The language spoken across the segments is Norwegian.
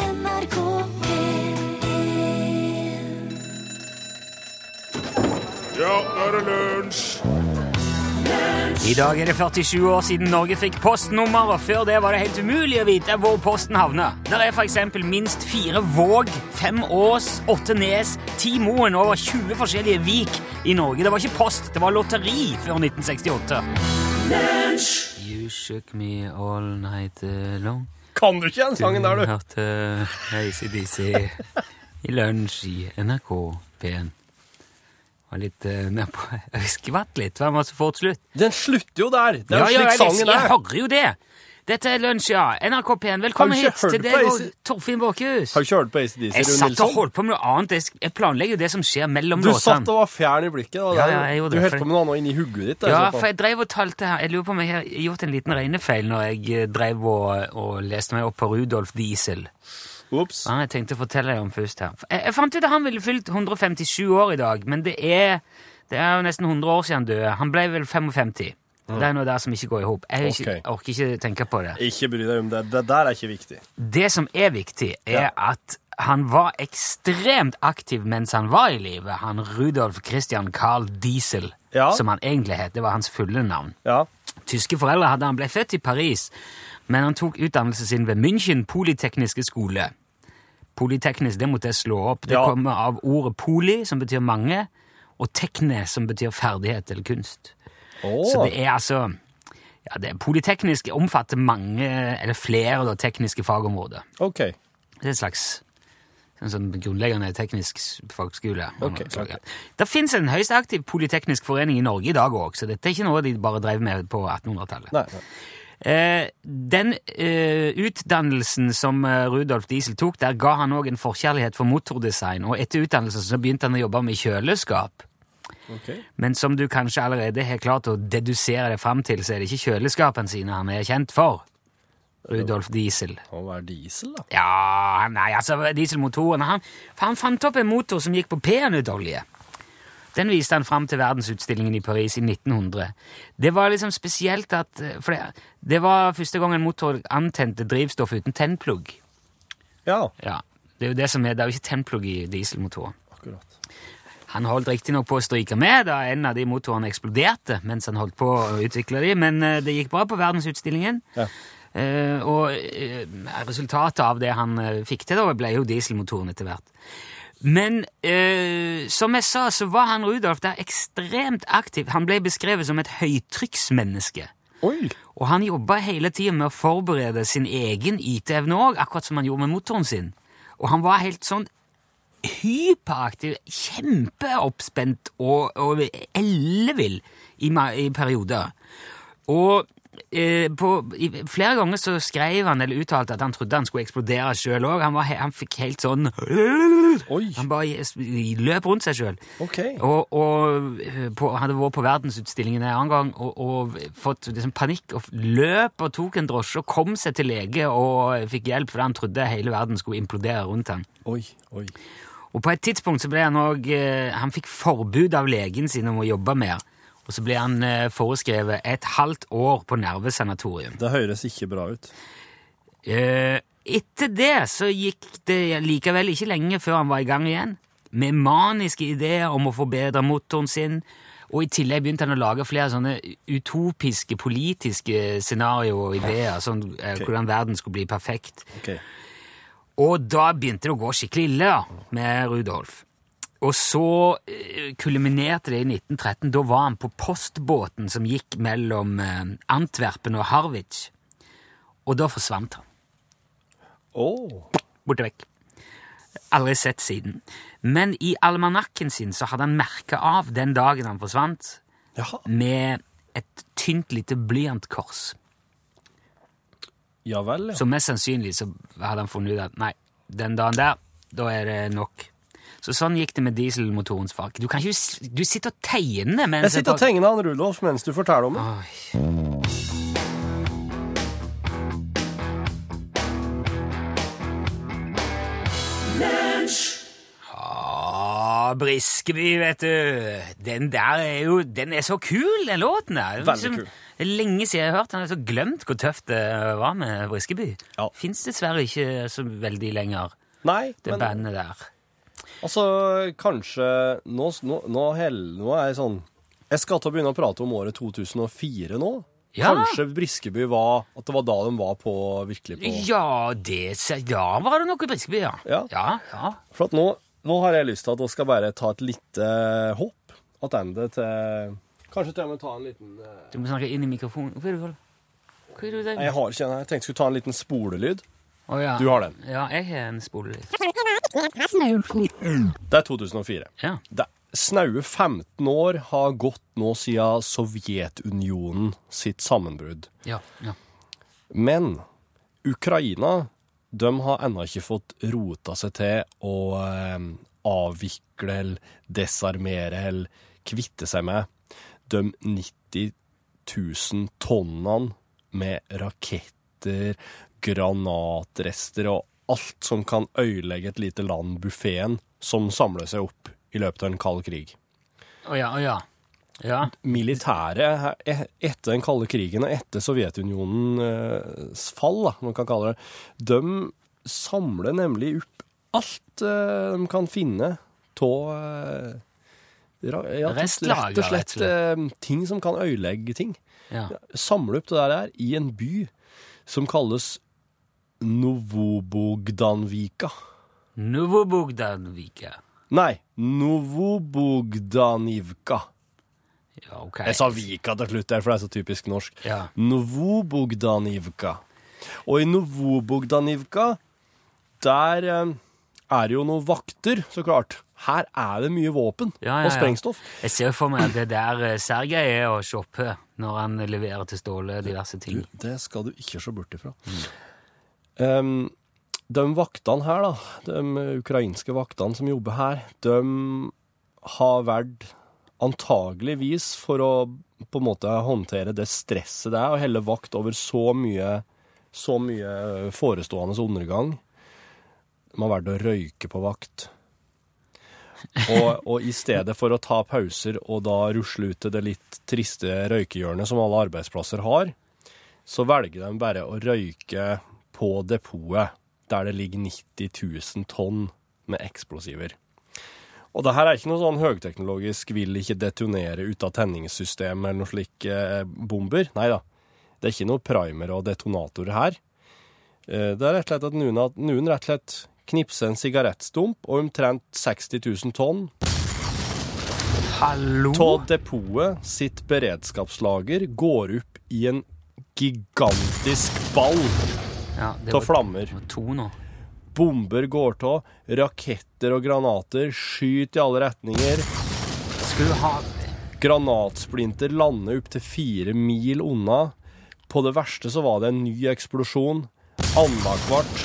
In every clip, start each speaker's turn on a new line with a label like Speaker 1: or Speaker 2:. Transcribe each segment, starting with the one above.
Speaker 1: NRK P1
Speaker 2: Ja, nå er det lunsj!
Speaker 3: I dag er det 47 år siden Norge fikk postnummer, og før det var det helt umulig å vite hvor posten havna. Der er f.eks. minst fire Våg, fem Ås, åtte Nes, ti Moen og over 20 forskjellige Vik i Norge. Det var ikke post, det var lotteri før 1968. You shook me all night long.
Speaker 2: Kan du ikke den sangen der, du?
Speaker 3: Hørte ACDC i lunsj i NRK P1. Var litt uh, nedpå. Jeg skvatt litt, for den var så fort slutt.
Speaker 2: Den slutter jo der! Det er jo
Speaker 3: jeg,
Speaker 2: slik sangen
Speaker 3: jeg
Speaker 2: er.
Speaker 3: hører jo det! Dette er Lunsj, ja. NRK P1, velkommen
Speaker 2: Har du
Speaker 3: hit
Speaker 2: ikke
Speaker 3: til
Speaker 2: hørt
Speaker 3: deg
Speaker 2: på
Speaker 3: og
Speaker 2: disse-
Speaker 3: Torfinn Båkhus.
Speaker 2: Har du ikke hørt på ACDC,
Speaker 3: Jeg
Speaker 2: Rune
Speaker 3: satt og
Speaker 2: Nilsson?
Speaker 3: holdt på med noe annet. Jeg sk- Jeg planlegger jo det som skjer mellom
Speaker 2: Du satt
Speaker 3: låtene.
Speaker 2: og var fjern i blikket. Og
Speaker 3: Ja,
Speaker 2: der,
Speaker 3: ja, jeg gjorde
Speaker 2: du
Speaker 3: det,
Speaker 2: holdt
Speaker 3: for-
Speaker 2: på med noe annet inni hugget ditt. sånn der, i
Speaker 3: Ja,
Speaker 2: så fall.
Speaker 3: for jeg drev og talte her. Jeg lurer på om jeg har gjort en liten regnefeil når jeg eh, drev og, og leste meg opp på Rudolf Diesel.
Speaker 2: Ops.
Speaker 3: Han jeg tenkte å fortelle deg om først her. Jeg, jeg fant ut at han ville fylt 157 år i dag, men det er, det er jo nesten 100 år siden han døde. Han ble vel 55. Det er noe der som ikke går i hop. Jeg, er
Speaker 2: Mm.
Speaker 3: ikke-
Speaker 2: Ok.
Speaker 3: jeg orker ikke tenke på det.
Speaker 2: Ikke bry deg om det. Det der er ikke viktig.
Speaker 3: Det som er viktig, er at han var ekstremt aktiv mens han var i live. Han Rudolf Christian Carl Diesel,
Speaker 2: Ja.
Speaker 3: som han egentlig het. Det var hans fulle navn.
Speaker 2: Ja.
Speaker 3: Tyske foreldre hadde han ble født i Paris, men han tok utdannelsen sin ved München Polytekniske skole. Polyteknisk, det måtte jeg slå opp. Det
Speaker 2: Ja.
Speaker 3: kommer av ordet poli, som betyr mange, og tekne, som betyr ferdighet eller kunst. Så det er altså ja, det er Polyteknisk omfatter mange, eller flere, da, tekniske fagområder.
Speaker 2: Ok.
Speaker 3: Det er en slags en sånn grunnleggende teknisk s- fagskole.
Speaker 2: Ok,
Speaker 3: Så, ja.
Speaker 2: ok.
Speaker 3: Det fins en høyst aktiv polyteknisk forening i Norge i dag òg, så dette er ikke noe de bare drev med på 1800-tallet.
Speaker 2: Nei, nei.
Speaker 3: Eh, den eh, utdannelsen som eh, Rudolf Diesel tok der, ga han òg en forkjærlighet for motordesign, og etter utdannelsen så begynte han å jobbe med kjøleskap.
Speaker 2: Ok.
Speaker 3: Men som du kanskje allerede har klart å dedusere det fram til, så er det ikke kjøleskapene sine han er kjent for, Rudolf Diesel.
Speaker 2: Han var diesel, da.
Speaker 3: Ja, nei, altså dieselmotoren han, for han fant opp en motor som gikk på peanøttolje. Den viste han fram til verdensutstillingen i Paris i 1900. Det var liksom spesielt at eh, For det, det var første gang en motor antente drivstoff uten tennplugg.
Speaker 2: Ja,
Speaker 3: Ja, det er jo det som er, det er jo ikke tennplugg i dieselmotorer.
Speaker 2: akkurat.
Speaker 3: Han holdt riktignok på å stryke med da en av de motorene eksploderte mens han holdt på å utvikle de, men eh, det gikk bra på verdensutstillingen.
Speaker 2: Ja.
Speaker 3: Eh, og eh, resultatet av det han eh, fikk til, da, ble jo dieselmotoren etter hvert. Men eh, som jeg sa, så var han Rudolf der ekstremt aktiv. Han ble beskrevet som et høytrykksmenneske.
Speaker 2: Oi!
Speaker 3: Og han jobba hele tida med å forberede sin egen IT-evne òg, akkurat som han gjorde med motoren sin. Og han var helt sånn hyperaktiv, kjempeoppspent og, og ellevill i, ma- i perioder. Og eh, på, i, flere ganger så skrev han eller uttalte at han trodde han skulle eksplodere sjøl òg. Han, var he- han fikk helt sånn
Speaker 2: Oi!
Speaker 3: Han bare løp rundt seg sjøl.
Speaker 2: Ok.
Speaker 3: Og, og eh, på, hadde vært på verdensutstillingen en annen gang og, og fått liksom panikk og f- løp og tok en drosje og kom seg til lege og eh, fikk hjelp fordi han trodde hele verden skulle implodere rundt han.
Speaker 2: Oi, oi.
Speaker 3: Og på et tidspunkt så ble han òg eh, Han fikk forbud av legen sin om å jobbe mer. Og så ble han eh, foreskrevet et halvt år på nervesanatorium.
Speaker 2: Det høres ikke bra ut.
Speaker 3: Eh, Etter det så gikk det likevel ikke lenge før han var i gang igjen, med maniske ideer om å forbedre motoren sin, og i tillegg begynte han å lage flere sånne utopiske politiske scenarioer og ideer, sånn eh,
Speaker 2: Ok.
Speaker 3: hvordan verden skulle bli perfekt.
Speaker 2: Ok.
Speaker 3: Og da begynte det å gå skikkelig ille da, med Rudolf. Og så eh, kulminerte det i 1913. Da var han på postbåten som gikk mellom eh, Antwerpen og Harwich. Og da forsvant han.
Speaker 2: Åh.
Speaker 3: Borte vekk. Aldri sett siden. Men i almanakken sin så hadde han merka av den dagen han forsvant,
Speaker 2: Jaha.
Speaker 3: med et tynt lite blyantkors.
Speaker 2: Ja vel, ja.
Speaker 3: Så mest sannsynlig så hadde han funnet ut at nei, den dagen der, da er det nok. Så sånn gikk det med dieselmotorens fag. Du kan ikke s- Du sitter og tegner mens
Speaker 2: Jeg sitter og tegner han Rudolf mens du forteller om det.
Speaker 3: tegner. Åh, Ah, Briskeby, vet du. Den der er jo Den er så kul, den låten der. Det er
Speaker 2: Veldig
Speaker 3: liksom-
Speaker 2: kul.
Speaker 3: det er Lenge siden jeg har hørt den. Jeg har så glemt hvor tøft det var med Briskeby.
Speaker 2: Ja.
Speaker 3: Fins dessverre ikke så veldig lenger.
Speaker 2: Nei,
Speaker 3: det
Speaker 2: men
Speaker 3: bandet der.
Speaker 2: altså, kanskje Nå, nå, nå, hell- nå er jeg sånn Jeg skal til å begynne å prate om året 2004 nå.
Speaker 3: Ja.
Speaker 2: Kanskje Briskeby var At det var da de var på virkelig på
Speaker 3: Ja, det se- Ja, var det noe Briskeby, ja.
Speaker 2: Ja.
Speaker 3: ja, ja.
Speaker 2: For at nå, nå har jeg lyst til at vi skal bare ta et lite eh, hopp tilbake til Kanskje til og med ta en liten eh,
Speaker 3: Du må snakke inn i mikrofonen. Hva er det du holder Hva er det du driver
Speaker 2: Nei,
Speaker 3: med?
Speaker 2: Jeg har ikke den her. Jeg tenkte jeg skulle ta en liten spolelyd.
Speaker 3: Å, ja.
Speaker 2: Du har den.
Speaker 3: Ja, jeg har en spolelyd.
Speaker 2: Det er 2004.
Speaker 3: Ja.
Speaker 2: Det Snaue 15 år har gått nå siden Sovjetunionen sitt sammenbrudd.
Speaker 3: Ja, ja.
Speaker 2: Men Ukraina de har ennå ikke fått rota seg til å eh, avvikle eller desarmere eller kvitte seg med de 90 000 tonnene med raketter, granatrester og alt som kan ødelegge et lite land, buffeen, som samler seg opp i løpet av en kald krig
Speaker 3: Å ja, å ja. Ja.
Speaker 2: militæret he- etter den kalde krigen og etter Sovjetunionens fall, da, man kan kalle det, de samler nemlig opp alt eh, de kan finne av ja,
Speaker 3: Restlager,
Speaker 2: rett og slett
Speaker 3: rett og
Speaker 2: eh, ting som kan ødelegge ting.
Speaker 3: ja.
Speaker 2: Samle opp det der i en by som kalles Novobogdanvika.
Speaker 3: Novobogdanvika.
Speaker 2: Nei, Novobogdanivka.
Speaker 3: Ja, ok.
Speaker 2: Jeg sa Vika til slutt, der, for det er så typisk norsk.
Speaker 3: Ja.
Speaker 2: Novobogdanivka. Og i Novobogdanivka, der eh, er det jo noen vakter, så klart. Her er det mye våpen
Speaker 3: Ja, ja,
Speaker 2: og
Speaker 3: ja.
Speaker 2: sprengstoff.
Speaker 3: Jeg ser jo for meg at det der eh, Sergej er å shoppe når han leverer til Ståle diverse ting.
Speaker 2: Det skal du ikke se bort ifra. Em, de vaktene her, da, de ukrainske vaktene som jobber her, de har valgt antageligvis for å på en måte håndtere det stresset det er å helle vakt over så mye, så mye forestående undergang. De har valgt å røyke på vakt. Og, og i stedet for å ta pauser og da rusle ut til det litt triste røykehjørnet som alle arbeidsplasser har, så velger de bare å røyke på depotet, der det ligger 90 000 tonn med eksplosiver. Og det her er ikke noe sånn høyteknologisk 'vil ikke detonere ut av tenningssystem' eller noe slik eh, bomber. Nei da. Det er ikke noe primer og detonatorer her. Eh, det er rett og slett at noen, at noen rett og slett knipser en sigarettstump og omtrent 60 000 tonn
Speaker 3: Hallo!
Speaker 2: Ta depotet sitt beredskapslager går opp i en gigantisk ball
Speaker 3: Ja, det
Speaker 2: av
Speaker 3: var,
Speaker 2: flammer.
Speaker 3: det var to nå.
Speaker 2: Bomber går av, raketter og granater skyter i alle retninger.
Speaker 3: Skulle ha
Speaker 2: Granatsplinter lander opp til fire mil unna. På det verste så var det en ny eksplosjon annethvert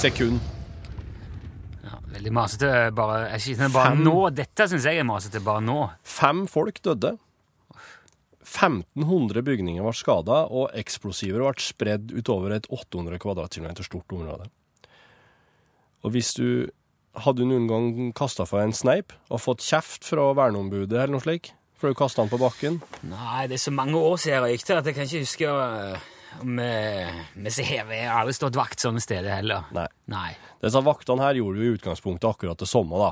Speaker 2: sekund.
Speaker 3: ja, Veldig masete. Bare, jeg synes bare
Speaker 2: Fem.
Speaker 3: nå. Dette syns jeg er masete. Bare nå.
Speaker 2: Fem folk døde. 1500 bygninger ble skada, og eksplosiver ble spredd utover et 800 kvadratkilometer stort område. Og hvis du hadde noen gang kasta for deg en sneip og fått kjeft fra verneombudet eller noe slik, for du kasta den på bakken
Speaker 3: Nei, det er så mange år siden jeg gikk der at jeg kan ikke huske øh, om øh, Vi ser her, jeg har aldri stått vakt sånne steder heller.
Speaker 2: Nei.
Speaker 3: Nei.
Speaker 2: Disse vaktene her gjorde jo i utgangspunktet akkurat det samme, da.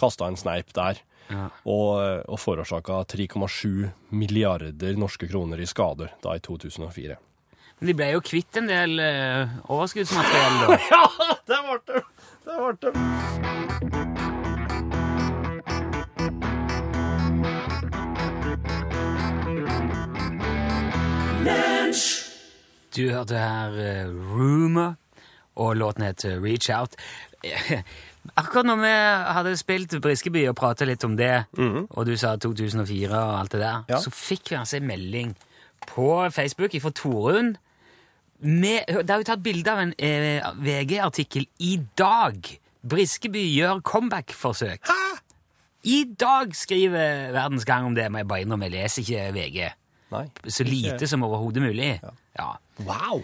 Speaker 2: Kasta en sneip der.
Speaker 3: Ja.
Speaker 2: Og, og forårsaka 3,7 milliarder norske kroner i skader da i 2004.
Speaker 3: Men de ble jo kvitt en del øh, overskuddsmateriell, da.
Speaker 2: Ja, det ble det! Det ble det.
Speaker 3: Du hørte her eh, Rumor, og låten het eh, Reach Out. Akkurat når vi hadde spilt Briskeby og prata litt om det, og du sa 2004 og alt det der,
Speaker 2: Ja.
Speaker 3: så fikk vi altså en melding på Facebook fra Torunn. Med, det er jo tatt bilde av en eh, VG-artikkel i dag. Briskeby gjør comeback-forsøk. I dag skriver Verdens Gang om det, men jeg bare innrømmer, jeg leser ikke VG.
Speaker 2: Nei.
Speaker 3: Så lite som overhodet mulig. ja.
Speaker 2: Wow!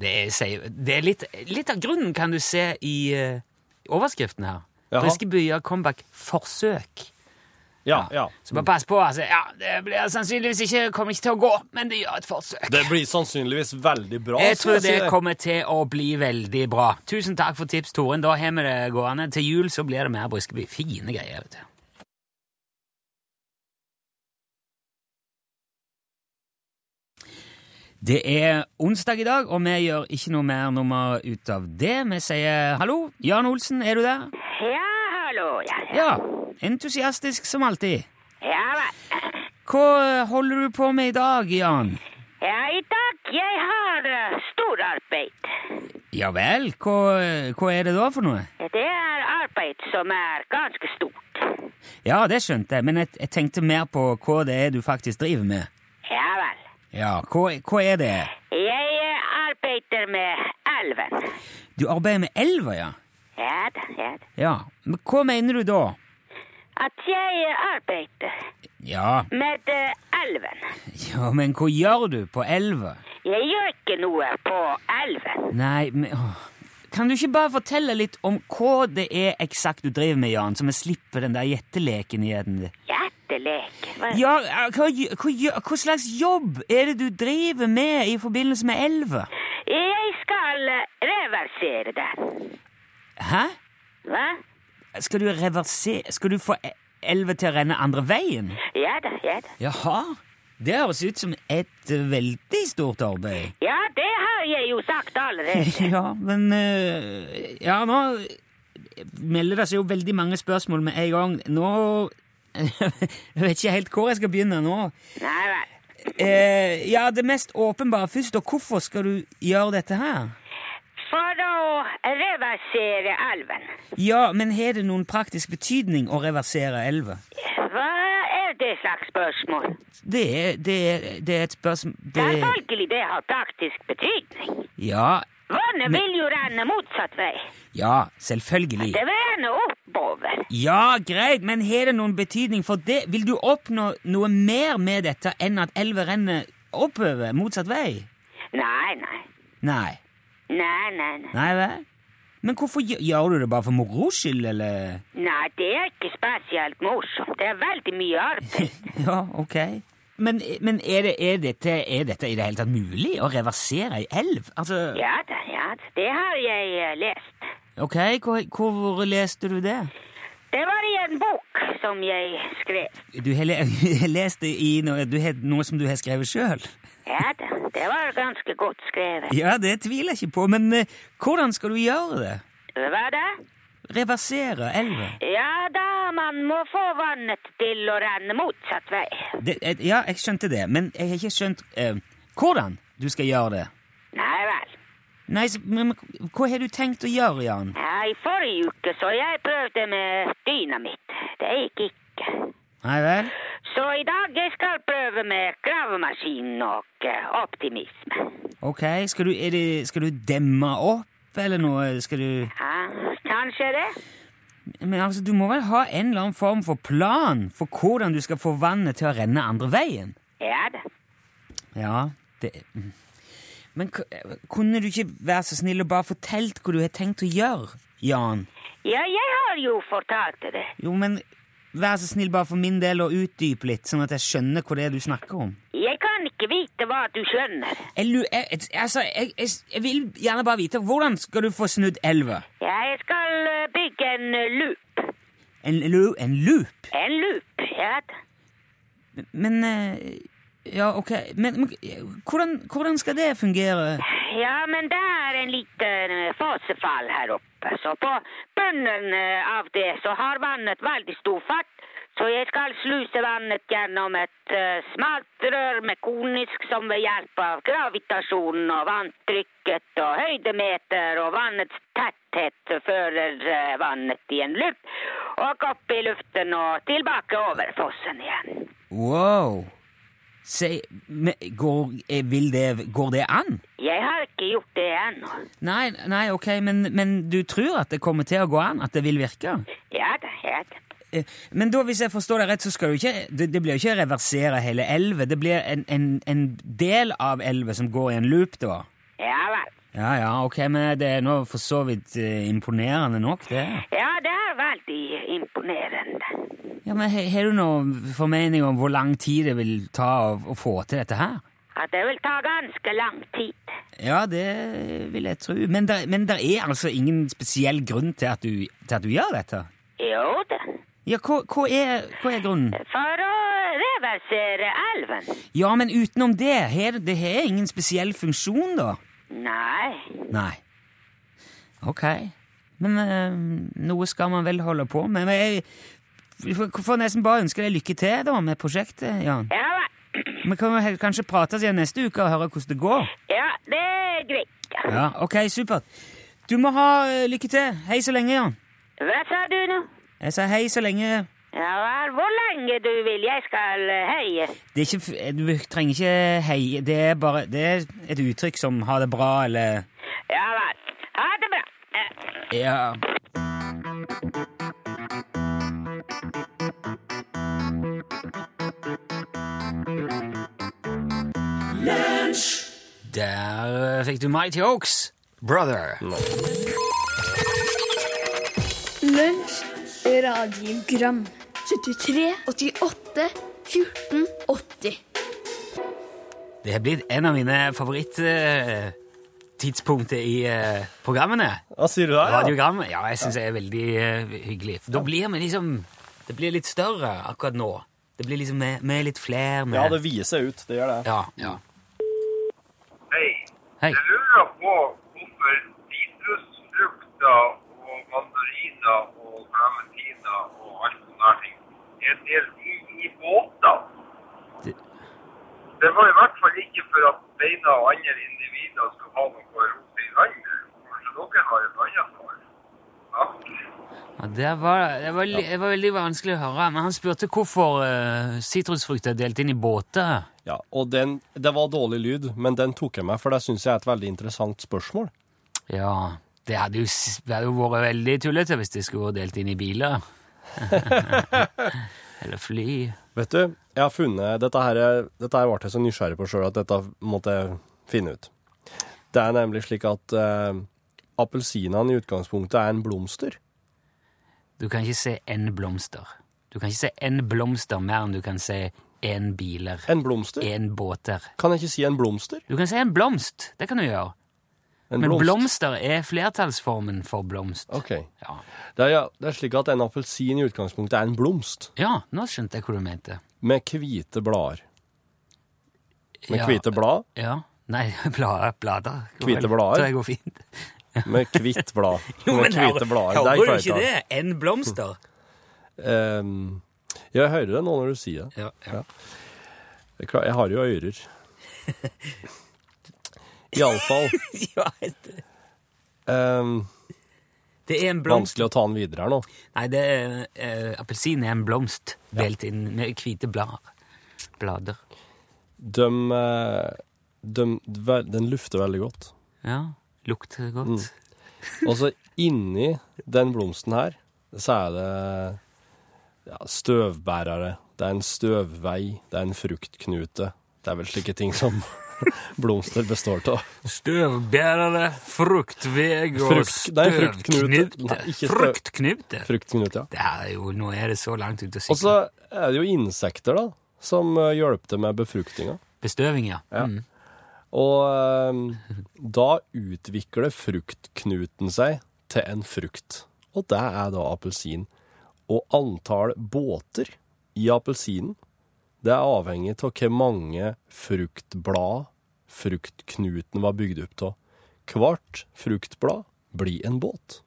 Speaker 3: Det, sier, det er litt, litt av grunnen kan du se i eh, overskriften her.
Speaker 2: Jaha.
Speaker 3: Briskeby gjør comeback-forsøk.
Speaker 2: Ja, ja.
Speaker 3: Så bare pass på. altså, ja, Det blir sannsynligvis ikke, kommer ikke til å gå, men det gjør et forsøk.
Speaker 2: Det blir sannsynligvis veldig bra.
Speaker 3: Jeg
Speaker 2: skal
Speaker 3: tror det
Speaker 2: si deg.
Speaker 3: kommer til å bli veldig bra. Tusen takk for tips, Toren. Da har vi det gående. Til jul så blir det mer Briskeby. Fine greier. vet du. Det er onsdag i dag, og vi gjør ikke noe mer nummer ut av det. Vi sier hallo. Jan Olsen, er du der?
Speaker 1: Ja, hallo. Ja, ja.
Speaker 3: Ja. Entusiastisk som alltid.
Speaker 1: ja vel.
Speaker 3: Hva holder du på med i dag, Jan?
Speaker 1: Ja, i dag jeg har uh, stor arbeid.
Speaker 3: Ja vel, hva, hva er det da for noe?
Speaker 1: Det er arbeid som er ganske stort.
Speaker 3: Ja, det skjønte jeg, men jeg, jeg tenkte mer på hva det er du faktisk driver med.
Speaker 1: Ja vel.
Speaker 3: Ja, hva, hva er det?
Speaker 1: Jeg eh, arbeider med elven.
Speaker 3: Du arbeider med elva, ja?
Speaker 1: Ja da, ja da.
Speaker 3: Ja, men hva mener du da?
Speaker 1: At jeg eh, arbeider
Speaker 3: Ja,
Speaker 1: med eh, elven.
Speaker 3: ja men hva gjør du på elva?
Speaker 1: Jeg gjør ikke noe på elven.
Speaker 3: Nei, men åh. Kan du ikke bare fortelle litt om hva det er eksakt du driver med, Jan, så vi slipper den der gjetteleken igjen?
Speaker 1: Gjettelek. Hva-
Speaker 3: Ja, hva, hva, hva, hva slags jobb er det du driver med i forbindelse med elva?
Speaker 1: Jeg skal eh, reversere den.
Speaker 3: Hæ?
Speaker 1: Hva?
Speaker 3: Skal du reversere Skal du få e- elva til å renne andre veien?
Speaker 1: Ja da, ja da.
Speaker 3: Jaha. Det høres ut som et eh, veldig stort arbeid.
Speaker 1: Ja, det har jeg jo sagt allerede.
Speaker 3: Ja, men eh, Ja, nå melder det seg jo veldig mange spørsmål med en gang. Nå Jeg vet ikke helt hvor jeg skal begynne nå.
Speaker 1: Nei vel.
Speaker 3: Eh, ja, det mest åpenbare først, og hvorfor skal du gjøre dette her?
Speaker 1: For å reversere elven.
Speaker 3: Ja, men har det noen praktisk betydning å reversere elva?
Speaker 1: Hva er det slags spørsmål?
Speaker 3: Det er, det er, det er et spørsmål det,
Speaker 1: Selvfølgelig det har praktisk betydning.
Speaker 3: Ja,
Speaker 1: Vannet vil jo renne motsatt vei.
Speaker 3: Ja, selvfølgelig.
Speaker 1: Det vil renne oppover.
Speaker 3: Ja, greit, men har det noen betydning for det? Vil du oppnå noe mer med dette enn at elva renner oppover, motsatt vei?
Speaker 1: Nei, nei.
Speaker 3: Nei.
Speaker 1: Nei, nei, nei.
Speaker 3: Nei vel? Men hvorfor gjø- gjør du det bare for moro skyld, eller?
Speaker 1: Nei, det er ikke spesielt morsomt. Det er veldig mye arbeid.
Speaker 3: Ja, ok. Men, men er, det, er, dette, er dette i det hele tatt mulig å reversere ei elv? Altså,
Speaker 1: Ja da, ja da. Det har jeg eh, lest.
Speaker 3: ok, hvor, hvor leste du det?
Speaker 1: Det var i en bok som jeg skrev.
Speaker 3: Du har le- lest det i noe, du har, noe som du har skrevet sjøl?
Speaker 1: Ja da, det var ganske godt skrevet.
Speaker 3: Ja, det tviler jeg ikke på, men eh, hvordan skal du gjøre det?
Speaker 1: Hva da?
Speaker 3: Reversere elva?
Speaker 1: Ja da, man må få vannet til å renne motsatt vei.
Speaker 3: Det, eh, ja, jeg skjønte det, men jeg har ikke skjønt eh, hvordan du skal gjøre det.
Speaker 1: Nei vel.
Speaker 3: Nei, så, men, men Hva har du tenkt å gjøre, Jan?
Speaker 1: Ja, I forrige uke så jeg prøvde med dynamitt. Det gikk ikke.
Speaker 3: Nei vel?
Speaker 1: Så i dag jeg skal prøve med gravemaskin og eh, optimisme.
Speaker 3: Ok, skal du, er det, skal du demme opp eller noe? Skal du
Speaker 1: Ja, kanskje det?
Speaker 3: Men altså, du må vel ha en eller annen form for plan for hvordan du skal få vannet til å renne andre veien?
Speaker 1: Ja da.
Speaker 3: Ja, det mm. Men k- eh, kunne du ikke være så snill og bare fortelt hva du har tenkt å gjøre, Jan?
Speaker 1: Ja, jeg har jo fortalt det.
Speaker 3: Jo, men vær så snill bare for min del å utdype litt, sånn at jeg skjønner hva det er du snakker om.
Speaker 1: Jeg kan ikke vite hva du skjønner.
Speaker 3: Jeg, lu- jeg, jeg, altså, jeg, jeg, jeg vil gjerne bare vite, hvordan skal du få snudd elva?
Speaker 1: Ja, jeg skal eh, bygge en eh, loop.
Speaker 3: En, lu- en loop?
Speaker 1: En loop, ja da.
Speaker 3: Men, eh, ja, ok, men, men eh, hvordan, hvordan skal det fungere?
Speaker 1: Ja, men det er en liten eh, fossefall her oppe. Så på bunnen eh, av det så har vannet veldig stor fart. Så jeg skal sluse vannet gjennom et eh, smalt rør med konisk som ved hjelp av gravitasjonen og vanntrykket og høydemeter og vannets tetthet fører eh, vannet i en loop og opp i luften og tilbake over fossen igjen.
Speaker 3: Wow! Se, men, går, eh, vil det, går det an?
Speaker 1: Jeg har ikke gjort det ennå.
Speaker 3: Nei, nei, ok, men, men du tror at det kommer til å gå an, at det vil virke?
Speaker 1: Ja da, ja da.
Speaker 3: Eh, Men da, hvis jeg forstår deg rett, så skal du ikke, det, det blir jo ikke å reversere hele elva. Det blir en, en, en del av elva som går i en loop, da.
Speaker 1: Ja vel.
Speaker 3: Ja, ja, ok, men det er nå for så vidt eh, imponerende nok, det.
Speaker 1: Ja, det er veldig imponerende.
Speaker 3: Ja, men he- Har du noen formening om hvor lang tid det vil ta å, å få til dette her?
Speaker 1: Ja, det vil ta ganske lang tid.
Speaker 3: Ja, det vil jeg tro. Men det men der er altså ingen spesiell grunn til at du, til at du gjør dette?
Speaker 1: Jo da.
Speaker 3: Ja, hva, hva, er, hva er grunnen?
Speaker 1: For å reversere elven.
Speaker 3: Ja, men utenom det, har det har ingen spesiell funksjon, da?
Speaker 1: Nei.
Speaker 3: Nei. Ok. Men eh, noe skal man vel holde på med. Men jeg vi får får nesten bare ønske deg lykke til da med prosjektet, Jan.
Speaker 1: Ja vel.
Speaker 3: Vi kan jo he- kanskje prates igjen neste uke og høre hvordan det går.
Speaker 1: Ja, det er greit.
Speaker 3: Ja, ok, supert. Du må ha eh, lykke til. Hei så lenge, Jan.
Speaker 1: Hva sa du nå?
Speaker 3: Jeg sa hei så lenge.
Speaker 1: Ja vel, hvor lenge du vil jeg skal eh, heie.
Speaker 3: Det er ikke, f- eh, du trenger ikke hei. Det er bare det er et uttrykk som ha det bra, eller
Speaker 1: Ja vel. Ha det bra. Eh.
Speaker 3: Ja. Der eh, fikk du Mighty Oaks, brother.
Speaker 4: Lunsj, radiogram 73, 88, 14, 80
Speaker 3: Det har blitt en av mine favorittidspunkter i eh, programmene.
Speaker 2: Hva sier du der? Ja?
Speaker 3: Radiogram. Ja, jeg syns det er veldig eh, hyggelig. For da blir vi liksom Det blir litt større akkurat nå. Det blir liksom med, med litt flere med
Speaker 2: ja, det vier seg ut. Det gjør det.
Speaker 3: ja, ja.
Speaker 5: Hei.
Speaker 3: Hei.
Speaker 5: Jeg lurer på hvorfor sitrusfrukter og mandariner og clementiner og alt sånne her ting er delt inn i båter.
Speaker 3: Det-
Speaker 5: Det var i hvert fall ikke for at beina og andre individer skulle ha noe å rote i landet. Kanskje dere har et annet svar? Takk.
Speaker 3: Ja, det, var, det, var, li- det var veldig vanskelig å høre. Men han spurte hvorfor eh, sitrusfrukt er delt inn i båter.
Speaker 2: Ja, og den, det var dårlig lyd, men den tok jeg meg, for det syns jeg er et veldig interessant spørsmål.
Speaker 3: Ja, det hadde jo, s- det hadde jo vært veldig tullete hvis det skulle vært delt inn i biler. Eller fly.
Speaker 2: Vet du, jeg har funnet Dette her, dette her ble jeg så nysgjerrig på sjøl at dette måtte jeg finne ut. Det er nemlig slik at eh, appelsinene i utgangspunktet er en blomster.
Speaker 3: Du kan ikke se én blomster. Du kan ikke se én blomster mer enn du kan se én biler,
Speaker 2: En blomster?
Speaker 3: én båter.
Speaker 2: Kan jeg ikke si en blomster?
Speaker 3: Du kan si en blomst, det kan du gjøre.
Speaker 2: En
Speaker 3: Men blomster er flertallsformen for blomst.
Speaker 2: Ok.
Speaker 3: Ja.
Speaker 2: Det er, ja, det er slik at en appelsin i utgangspunktet er en blomst
Speaker 3: ja, nå skjønte jeg hva du mente.
Speaker 2: med hvite blader. Med
Speaker 3: Ja.
Speaker 2: hvite blad?
Speaker 3: Ja. Nei, blader. blader.
Speaker 2: Hvite blader?
Speaker 3: Det går fint.
Speaker 2: Med hvitt blad. med hvite blader. Det er
Speaker 3: hører du
Speaker 2: kvalitet.
Speaker 3: ikke det? En blomster.
Speaker 2: Ehm, jeg hører det nå når du sier det.
Speaker 3: Ja, ja.
Speaker 2: Jeg klar- Jeg har jo ører. Iallfall
Speaker 3: ja, det-
Speaker 2: um,
Speaker 3: det er en blomst.
Speaker 2: Vanskelig å ta den videre her nå.
Speaker 3: Nei, det er, eh, appelsin er en blomst delt inn med hvite blader. Blader.
Speaker 2: De, eh, de, ver- den lufter veldig godt.
Speaker 3: Ja, lukter godt.
Speaker 2: Og så inni den blomsten her, så er det ja, støvbærere. Det er en støvvei, det er en fruktknute. Det er vel slike ting som blomster består av.
Speaker 3: Støvbærere, fruktveg og
Speaker 2: Frukt- nei, fruktknute. Nei,
Speaker 3: støvknute.
Speaker 2: ikke støv-
Speaker 3: Fruktknute.
Speaker 2: Fruktknute, ja.
Speaker 3: Det er jo, nå er det så langt ut å
Speaker 2: Og så
Speaker 3: sykle.
Speaker 2: er det jo insekter, da, som eh, hjelper til med befruktninga.
Speaker 3: Bestøving, ja. Mm.
Speaker 2: Og eh, da utvikler fruktknuten seg til en frukt, og det er da appelsin. Og antall båter i appelsinen, det er avhengig av hvor mange fruktblad fruktknuten var bygd opp av. Hvert fruktblad blir en båt.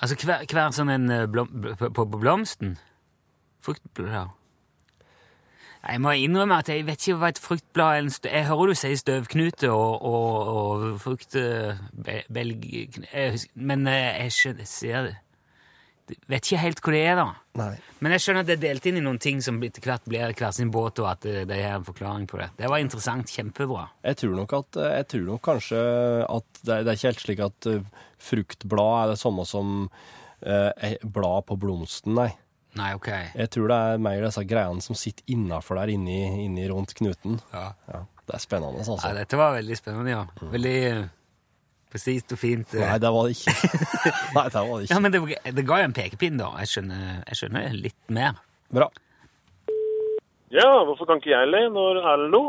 Speaker 3: Altså hver, hver sånn en eh, blom, bl- på, på blomsten? Fruktblad Nei, Jeg må innrømme at jeg vet ikke hva et fruktblad er. en stø- Jeg hører du sier støvknute og, og, og eh, fruktbelg... Men eh, jeg skjønner jeg ser det. Jeg vet ikke helt hva det er, da.
Speaker 2: Nei.
Speaker 3: Men jeg skjønner at det er delt inn i noen ting som etter hvert blir hver sin båt, og at eh, det er en forklaring på det. Det var interessant. Kjempebra.
Speaker 2: Jeg tror nok at Jeg tror nok kanskje at det, det er ikke helt slik at eh, fruktblad er det samme som eh, eh, blad på blomsten, nei.
Speaker 3: Nei, ok.
Speaker 2: Jeg tror det er mer disse greiene som sitter innafor der, inni, inni rundt knuten.
Speaker 3: Ja.
Speaker 2: Ja, det er spennende,
Speaker 3: Ja,
Speaker 2: altså.
Speaker 3: dette var veldig spennende, ja. Veldig eh, Presist og fint. eh.
Speaker 2: Nei, det var det ikke. Nei, det var det
Speaker 3: Ja,
Speaker 2: ikke.
Speaker 3: men det, det ga jo en pekepinn, da. Jeg skjønner, jeg skjønner litt mer.
Speaker 2: Bra.
Speaker 6: Ja, hvorfor kan ikke jeg le når Erlend lo?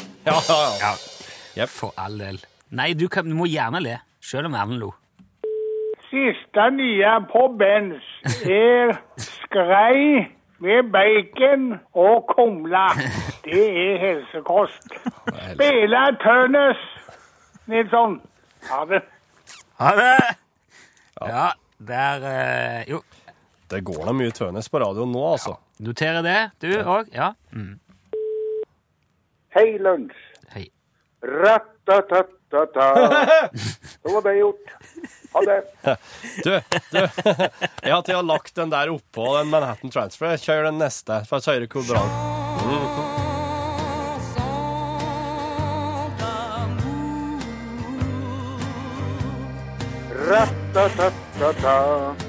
Speaker 2: Ja, ja, ja.
Speaker 3: Ja.
Speaker 2: Jep.
Speaker 3: For all del. Nei, du, kan, du må gjerne le, sjøl om Erlend lo.
Speaker 7: Siste nye på Benz er skrei med bacon og kumle. Det er helsekost. Spela Tønnes, Nilsson. Ha det.
Speaker 3: Ha det! Ja, der eh, Jo,
Speaker 2: Det går da mye tønes på radioen nå, altså.
Speaker 3: noterer det, du òg. Ja. Mm.
Speaker 7: Hei, lunsj.
Speaker 3: Hei.
Speaker 7: Rattatatata. Så var det gjort. Ha det.
Speaker 2: Du, du. Jeg har til å ha lagt den der oppå den Manhattan Transfer. Jeg kjører den neste. For jeg kjører Kobran.
Speaker 7: Rattatatata.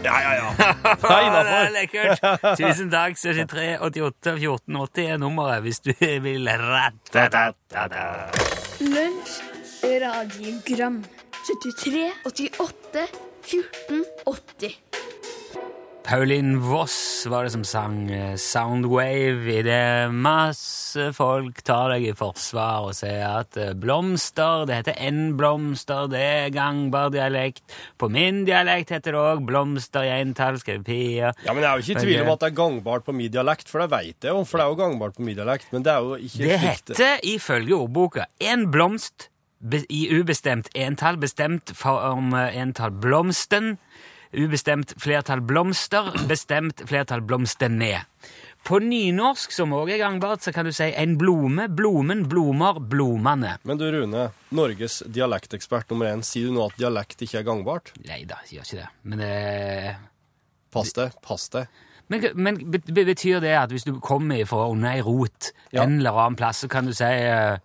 Speaker 2: Ja, ja, ja. Det er
Speaker 3: Ja, det er
Speaker 2: innafor.
Speaker 3: lekkert. Tusen takk. 73 88 1480 er nummeret hvis du vil rattatatata.
Speaker 4: Lunsj radiogram 73 88 14 80
Speaker 3: Pauline Voss var det som sang eh, Soundwave i det masse folk tar deg i forsvar og sier at eh, blomster, det heter en blomster, det er gangbar dialekt. På min dialekt heter det òg blomster i entall, skrev Pia.
Speaker 2: Ja, men Jeg er jo ikke i tvil om at det er gangbart på min dialekt, for det veit jeg jo. For det er jo gangbart på min dialekt, men det er jo ikke
Speaker 3: Det
Speaker 2: slik
Speaker 3: heter ifølge ordboka en blomst be- i ubestemt entall, bestemt form eh, entall blomsten, ubestemt flertall blomster, bestemt flertall blomstene. På nynorsk, som også er gangbart, så kan du si en blome, blomen, blomer, blomane.
Speaker 2: Men du Rune, Norges dialektekspert nummer én, sier du nå at dialekt ikke er gangbart?
Speaker 3: Nei da, gjør ikke det. Men, eh,
Speaker 2: Pass deg, pass deg.
Speaker 3: men, men be- be- betyr det at hvis du kommer fra under ei rot
Speaker 2: Ja.
Speaker 3: en eller annen plass, så kan du si eh,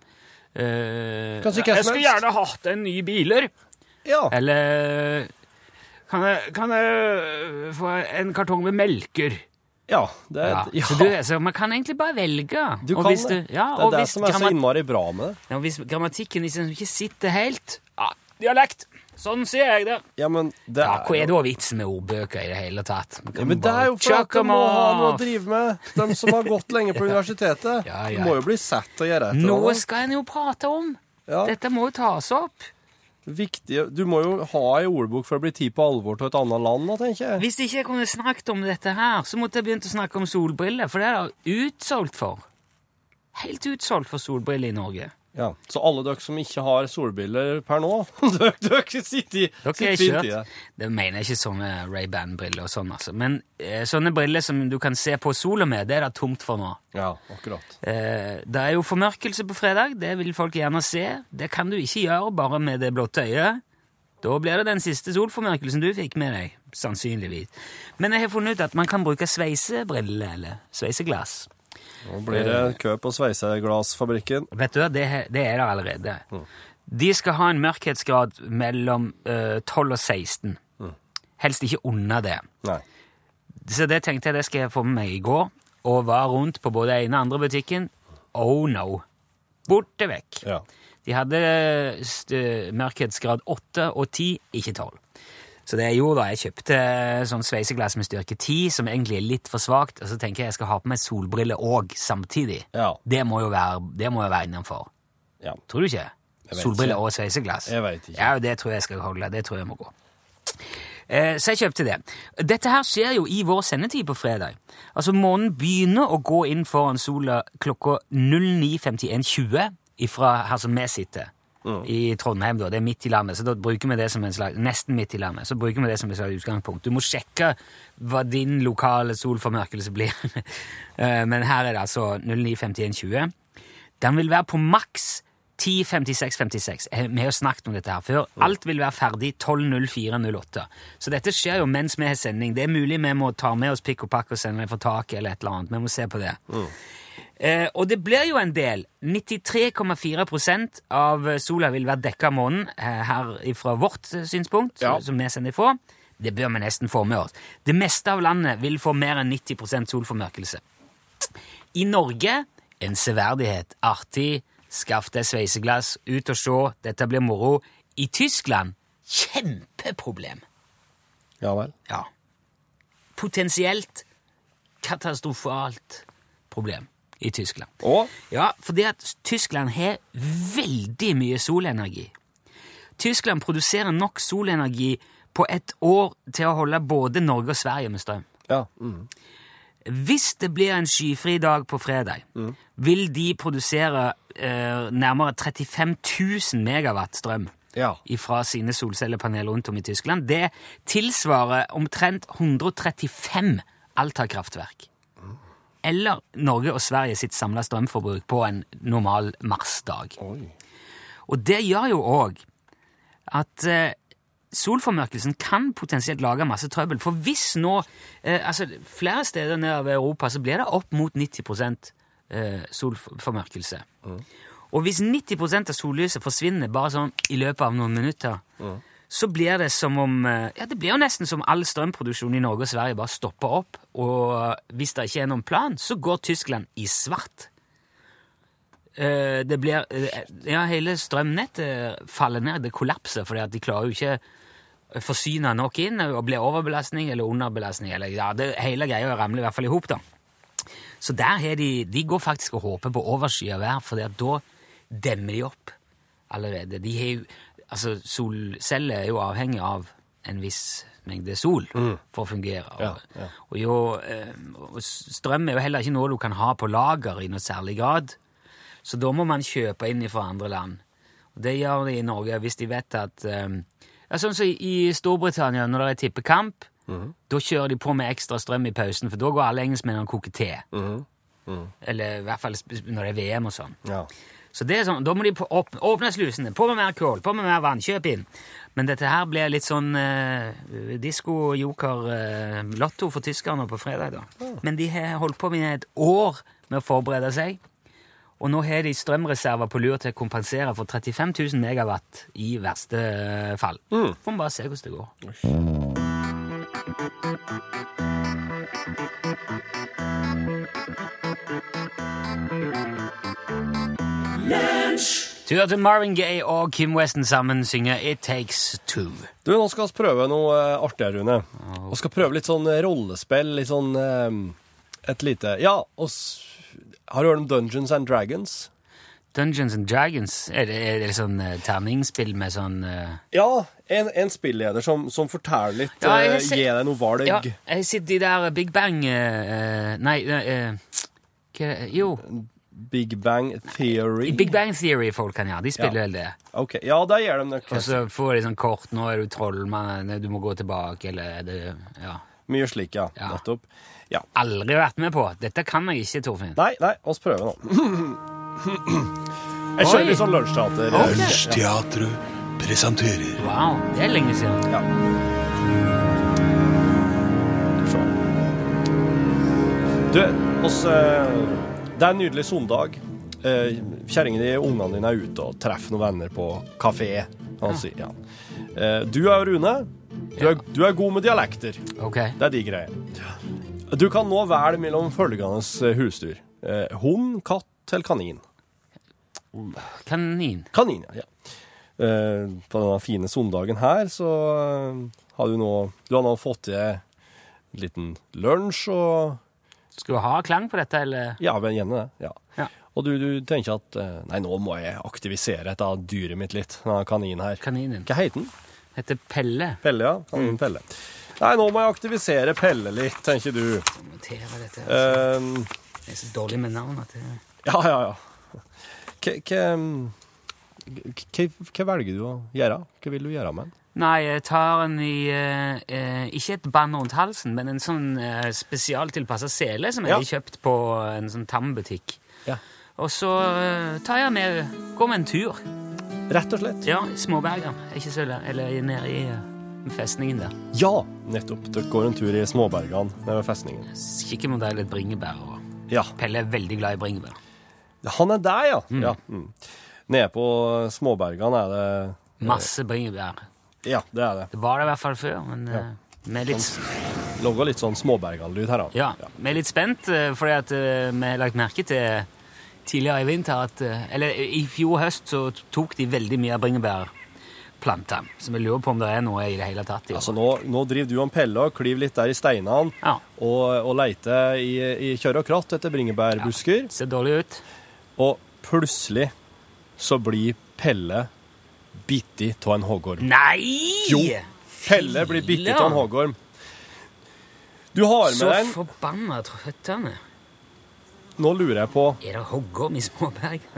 Speaker 3: eh,
Speaker 2: Kan si hva som
Speaker 3: Jeg skulle
Speaker 2: helst.»
Speaker 3: gjerne hatt en ny biler.
Speaker 2: Ja.
Speaker 3: Eller kan jeg, kan jeg få en kartong med melker?
Speaker 2: Ja. Det er,
Speaker 3: Ja.
Speaker 2: ja.
Speaker 3: Så, du, så man kan egentlig bare velge.
Speaker 2: Du
Speaker 3: Og
Speaker 2: kan
Speaker 3: hvis
Speaker 2: det.
Speaker 3: ja,
Speaker 2: det
Speaker 3: og
Speaker 2: er det
Speaker 3: hvis
Speaker 2: som er så
Speaker 3: grammat-
Speaker 2: innmari bra med det.
Speaker 3: ja, og hvis grammatikken liksom ikke sitter helt ja, Dialekt! Sånn sier jeg det.
Speaker 2: Ja, men det
Speaker 3: Ja, Hva er
Speaker 2: jo
Speaker 3: da vitsen med ordbøker i det hele tatt? Man
Speaker 2: ja,
Speaker 3: kan
Speaker 2: men det er jo for
Speaker 3: bare
Speaker 2: at de
Speaker 3: chuck 'em
Speaker 2: må ha noe å
Speaker 3: off.
Speaker 2: drive med, de som har gått lenge på universitetet.
Speaker 3: Ja,
Speaker 2: De
Speaker 3: ja.
Speaker 2: må jo bli sett til å gjøre et eller
Speaker 3: Nå
Speaker 2: annet.
Speaker 3: skal en jo prate om!
Speaker 2: Ja,
Speaker 3: Dette må jo tas opp.
Speaker 2: viktige- Du må jo ha ei ordbok for å bli tatt på alvor til et annet land, da, tenker jeg.
Speaker 3: Hvis ikke jeg kunne snakket om dette her, så måtte jeg begynt å snakke om solbriller, for det er det utsolgt for. Helt utsolgt for solbriller i Norge.
Speaker 2: Ja, Så alle dere som ikke har solbriller per nå, dere, dere sitter, i-
Speaker 3: Dere
Speaker 2: sitter
Speaker 3: er
Speaker 2: fint i det.
Speaker 3: kjørt. Det mener jeg ikke sånne Ray-Ban-briller og sånn, altså. Men eh, sånne briller som du kan se på sola med, det er det tomt for nå.
Speaker 2: Ja, akkurat.
Speaker 3: Eh, det er jo formørkelse på fredag, det vil folk gjerne se. Det kan du ikke gjøre bare med det blotte øyet. Da blir det den siste solformørkelsen du fikk med deg, sannsynligvis. Men jeg har funnet ut at man kan bruke sveisebriller, eller sveiseglass.
Speaker 2: Nå blir det kø på Sveiseglassfabrikken.
Speaker 3: Vet du, hva, det, det er der allerede.
Speaker 2: Mm.
Speaker 3: De skal ha en mørkhetsgrad mellom eh, 12 og 16.
Speaker 2: Mm.
Speaker 3: Helst ikke under det.
Speaker 2: Nei.
Speaker 3: Så det tenkte jeg det skal jeg få med meg i går, og var rundt på både ene og andre butikken. Oh no! Borte vekk.
Speaker 2: Ja.
Speaker 3: De hadde st- mørkhetsgrad 8 og 10, ikke 12. Så det jeg gjorde da, jeg kjøpte sånn sveiseglass med styrke 10, som egentlig er litt for svagt, og så tenker jeg jeg skal ha på meg solbriller òg samtidig.
Speaker 2: Ja.
Speaker 3: Det må jo være, det må jo være innenfor.
Speaker 2: ja.
Speaker 3: Tror du ikke?
Speaker 2: vet
Speaker 3: Solbriller
Speaker 2: ikke.
Speaker 3: og sveiseglass.
Speaker 2: Jeg vet ikke.
Speaker 3: Ja, og det tror jeg skal holde. Det tror jeg må gå. Eh, Så jeg kjøpte det. Dette her skjer jo i vår sendetid på fredag. Altså Månen begynner å gå inn foran sola klokka 09.51,20 ifra her som vi sitter.
Speaker 2: Mm.
Speaker 3: I Trondheim, da. Det er midt i landet. så da bruker vi det som en slags, Nesten midt i landet. så bruker vi det som et slags utgangspunkt. Du må sjekke hva din lokale solformørkelse blir. Eh, Men her er det altså 09.51,20. Den vil være på maks 10.56.56. Eh, Vi har jo snakket om dette her før. Alt vil være ferdig 12.04.08. Så dette skjer jo mens vi har sending. Det er mulig vi må ta med oss pikk og pakk og sende det fra taket eller et eller annet. Vi må se på det. Eh, og det blir jo en del. 93,4 av sola vil være dekka av månen eh, her fra vårt eh, synspunkt,
Speaker 2: Ja.
Speaker 3: som vi sender ifra. Det bør vi nesten få med oss. Det meste av landet vil få mer enn 90 solformørkelse. I Norge en severdighet, artig, Skaff deg sveiseglass, ut og se, dette blir moro. I Tyskland kjempeproblem.
Speaker 2: Ja vel.
Speaker 3: Ja. Potensielt katastrofalt problem i Tyskland.
Speaker 2: Og
Speaker 3: Ja, fordi at Tyskland har veldig mye solenergi. Tyskland produserer nok solenergi på et år til å holde både Norge og Sverige med strøm.
Speaker 2: Ja. Mm.
Speaker 3: Hvis det blir en skyfri dag på fredag,
Speaker 2: Mm.
Speaker 3: vil de produsere eh, nærmere 35 000 megawatt strøm
Speaker 2: ja.
Speaker 3: fra sine solcellepaneler rundt om i Tyskland. Det tilsvarer omtrent 135 Alta-kraftverk.
Speaker 2: Mm.
Speaker 3: Eller Norge og Sverige sitt samla strømforbruk på en normal marsdag.
Speaker 2: Oi.
Speaker 3: Og det gjør jo òg at eh, solformørkelsen kan potensielt lage masse trøbbel. For hvis nå eh, altså Flere steder nedover i Europa så blir det opp mot 90 eh, solformørkelse. Og hvis 90 av sollyset forsvinner bare sånn i løpet av noen minutter, så blir det som om eh, Ja, det blir jo nesten som all strømproduksjon i Norge og Sverige bare stopper opp. Og eh, hvis det ikke er noen plan, så går Tyskland i svart. Eh, det blir eh, Ja, hele strømnettet faller ned. Det kollapser fordi at de klarer jo ikke å forsyne nok inn og blir overbelastning eller underbelastning. Eller, ja, det, hele greia ramler i hvert fall i hop, da. Så der har de De går faktisk og håper på overskyet vær, for da demmer de opp allerede. De har jo Altså, solceller er jo avhengig av en viss mengde sol for å fungere. Og,
Speaker 2: Mm. Ja, ja.
Speaker 3: og jo, eh, og s- strøm er jo heller ikke noe du kan ha på lager i noe særlig grad. Så da må man kjøpe inn fra andre land. Og det gjør de i Norge hvis de vet at eh, ja, Sånn som i Storbritannia, når det er tippekamp,
Speaker 2: Mhm.
Speaker 3: da kjører de på med ekstra strøm i pausen, for da går alle engelskmennene og koker te. Eller i hvert fall sp- når det er VM og sånn.
Speaker 2: Ja.
Speaker 3: Så det er sånn, da må de på, åpne, åpne slusene, på med mer kål, på med mer vann, kjøp inn. Men dette her blir litt sånn eh, disko-joker-lotto for tyskerne på fredag, da. Men de har holdt på med et år med å forberede seg, og nå har de strømreserver på lur til å kompensere for 35 000 megawatt i verste eh, fall. Får vi bare se hvordan det går. Tur til Marvin Gaye og Kim Weston sammen synger It Takes Two.
Speaker 2: Du, nå skal vi prøve noe eh, artig, Rune. Vi skal prøve litt sånn eh, rollespill, litt sånn eh, Et lite Ja, oss Har du hørt om Dungeons and Dragons?
Speaker 3: Dungeons and Dragons, er det, er det sånn eh, terningspill med sånn eh,
Speaker 2: Ja, en, en spilleder som, som forteller litt,
Speaker 3: Ja, jeg
Speaker 2: eh,
Speaker 3: ser-
Speaker 2: gir deg noe valg.
Speaker 3: Ja, jeg sitter i der Big Bang eh, eh, Nei, eh, hva er det? jo.
Speaker 2: Big Bang Theory.
Speaker 3: I Big Bang Theory-folkene, ja. De spiller
Speaker 2: Ja.
Speaker 3: vel det.
Speaker 2: Ok, Ja, der gjør de nok
Speaker 3: Og så får de sånn kort 'Nå er du trollmann, nei, du må gå tilbake', eller det, Ja.
Speaker 2: mye slik, ja.
Speaker 3: Ja.
Speaker 2: Nettopp. Ja.
Speaker 3: Aldri vært med på. Dette kan jeg ikke, Torfinn.
Speaker 2: Nei, nei, oss prøver nå. Jeg kjører
Speaker 3: Oi.
Speaker 2: litt sånn lunsjteater.
Speaker 3: Ok.
Speaker 8: Lunsjteatret presenterer
Speaker 3: Wow, det er lenge siden.
Speaker 2: Ja. Så. Du, oss, eh, det er en nydelig sondag. Eh, Kjerringen din og ungene dine er ute og treffer noen venner på kafé. Han sier, ja. eh, du er Rune. Du er, du er god med dialekter.
Speaker 3: Ok.
Speaker 2: Det er de greiene. Du kan nå velge mellom følgende husdyr. Eh, hund, katt eller kanin.
Speaker 3: Kanin.
Speaker 2: Kanin, ja. Eh, på denne fine søndagen her, så eh, har du nå Du har nå fått til en liten lunsj og
Speaker 3: Skal du ha klang på dette, eller?
Speaker 2: Ja, men gjerne det. Ja.
Speaker 3: Ja.
Speaker 2: Og du, du tenker at eh, Nei, nå må jeg aktivisere dette dyret mitt litt, denne kaninen her.
Speaker 3: Kaninen.
Speaker 2: Hva heter den?
Speaker 3: Heter Pelle.
Speaker 2: Pelle, ja. Kaninen Pelle. Nei, nå må jeg aktivisere Pelle litt, tenker du.
Speaker 3: Notere dette.
Speaker 2: Eh,
Speaker 3: Jeg er så dårlig med navn at jeg...
Speaker 2: Ja, ja, ja. Hva- hva- Hva hva velger du å gjøre? Hva vil du gjøre med den?
Speaker 3: Nei, jeg tar en i eh, eh, Ikke et band rundt halsen, men en sånn eh, spesialtilpassa sele som jeg
Speaker 2: Ja.
Speaker 3: har kjøpt på en sånn tambutikk.
Speaker 2: Ja.
Speaker 3: Og så eh, tar jeg med Går med en tur.
Speaker 2: Rett og slett.
Speaker 3: Ja, i Småbergen. Ikke så langt. Eller nede i eh, festningen der.
Speaker 2: Ja, nettopp. Dere går en tur i småbergene nede ved festningen.
Speaker 3: Kikker mot deg litt bringebær. Og
Speaker 2: Ja,
Speaker 3: Pelle er veldig glad i bringebær.
Speaker 2: han er der, ja. ja. Mm. Nede på småbergene er det
Speaker 3: Masse bringebær.
Speaker 2: Ja, det er det.
Speaker 3: Det var det i hvert fall før, men eh, vi er litt
Speaker 2: Lager litt sånn småberganlyd her, da.
Speaker 3: Ja, vi er litt spent, eh, fordi at eh, vi har lagt merke til tidligere i vinter at eh, Eller i fjor høst så tok de veldig mye av bringebærplanter. Så vi lurer på om det er noe i det hele tatt. i år.
Speaker 2: Altså, nå, nå driver du og Pelle og klyver litt der i steinene
Speaker 3: Ja.
Speaker 2: og, og leter i, i kjør og kratt etter bringebærbusker,
Speaker 3: Ser dårlig ut.
Speaker 2: og plutselig så blir Pelle bitt i av en hoggorm.
Speaker 3: Nei!
Speaker 2: Jo, Pelle blir bitt av en hoggorm. Du har med
Speaker 3: Så
Speaker 2: deg en
Speaker 3: forbanna trøttende.
Speaker 2: Nå lurer jeg på
Speaker 3: Er det hoggorm i småberg?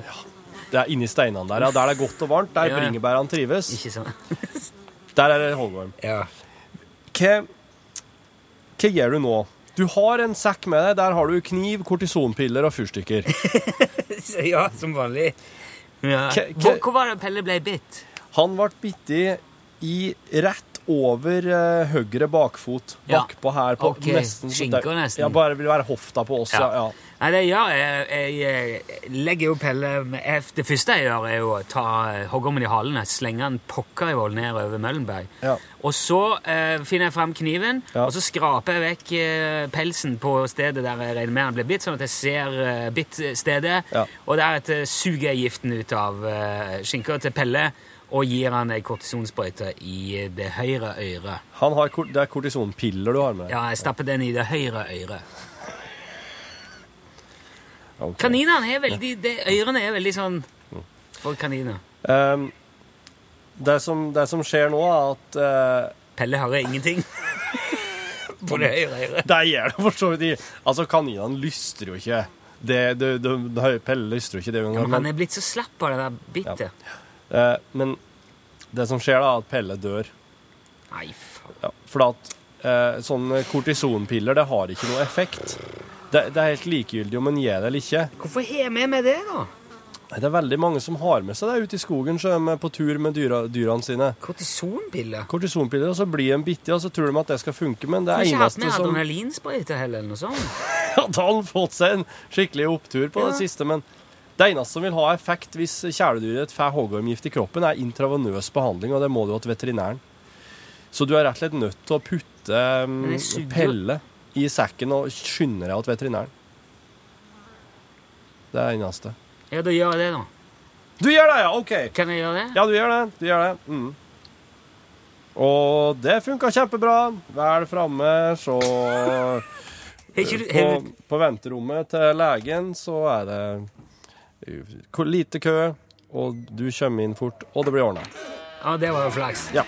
Speaker 2: Det er inni steinene der, ja. Der det er godt og varmt, der
Speaker 3: Ja, ja.
Speaker 2: bringebærene trives.
Speaker 3: Ikke sånn.
Speaker 2: Der er det hoggorm.
Speaker 3: Ja.
Speaker 2: Hva, hva gjør du nå? Du har en sekk med deg. Der har du kniv, kortisonpiller og fyrstikker.
Speaker 3: ja, som vanlig. Ja.
Speaker 2: K- k-
Speaker 3: Hvor, hvor var det Pelle ble bitt?
Speaker 2: Han ble bitt i, i rett over eh, høyre bakfot.
Speaker 3: Ja.
Speaker 2: Bakpå her. På
Speaker 3: Ok,
Speaker 2: nesten, så
Speaker 3: skinker
Speaker 2: der-
Speaker 3: nesten.
Speaker 2: Ja, bare vil være hofta på oss, ja. ja.
Speaker 3: Nei, det gjør jeg. Jeg jeg legger jo Pelle med F. Det første jeg gjør, er jo å ta eh, hoggormen i halen og slenge en pokkerivoll ned over Møllenberg.
Speaker 2: Ja.
Speaker 3: Og så eh, finner jeg fram kniven,
Speaker 2: Ja.
Speaker 3: og så skraper jeg vekk eh, pelsen på stedet der jeg regner med han ble bitt, sånn at jeg ser eh, bittstedet.
Speaker 2: Ja.
Speaker 3: Og deretter suger jeg giften ut av eh, skinka til Pelle og gir han ei kortisonsprøyte i det høyre øret.
Speaker 2: Han har, kor- det er kortisonpiller du har med deg.
Speaker 3: Ja, jeg stapper den i det høyre øret.
Speaker 2: Ok.
Speaker 3: Kaninene er veldig det, Ørene er veldig sånn for kaniner.
Speaker 2: Ehm, det, som, det som skjer nå, er at eh,
Speaker 3: Pelle hører ingenting. På det høyre øret.
Speaker 2: Det gjør det for så vidt ikke. Altså, kaninene lyster jo ikke. Det, det, det, det, Pelle lyster jo ikke det.
Speaker 3: Ja, men han
Speaker 2: Men,
Speaker 3: er blitt så slapp av det der bittet.
Speaker 2: eh, men det som skjer, da, er at Pelle dør.
Speaker 3: Nei, faen.
Speaker 2: Ja, for at eh, sånne kortisonpiller, det har ikke noe effekt. Det, det er helt likegyldig om en gir det eller ikke.
Speaker 3: Hvorfor har vi med det, da?
Speaker 2: Det er veldig mange som har med seg det ute i skogen så de er på tur med dyra, dyrene sine.
Speaker 3: Kortisonpiller?
Speaker 2: Kortisonpiller, og så blir de bitte, og så tror de at det skal funke, men det
Speaker 3: Har
Speaker 2: er
Speaker 3: ikke hatt
Speaker 2: eneste
Speaker 3: med
Speaker 2: som
Speaker 3: adrenalinsprøyte heller, eller noe sånt?
Speaker 2: hadde han fått seg en skikkelig opptur på det siste, men det eneste som vil ha effekt hvis kjæledyret får hoggormgift i kroppen, er intravenøs behandling, og det må du ha til veterinæren. Så du er rett og slett nødt til å putte um,
Speaker 3: Men jeg suger-
Speaker 2: Pelle i sekken og skynde deg til veterinæren. Det er det eneste.
Speaker 3: Ja, da gjør jeg det, da.
Speaker 2: Du gjør det, ja! OK.
Speaker 3: Kan jeg gjøre det?
Speaker 2: Ja, du gjør det. Du gjør det. Mm. Og det funka kjempebra. Vel framme, så
Speaker 3: Har ikke du,
Speaker 2: på,
Speaker 3: har du,
Speaker 2: på venterommet til legen så er det ko- lite kø, og du kommer inn fort, og det blir ordna.
Speaker 3: ja, det var jo flaks.
Speaker 2: Ja.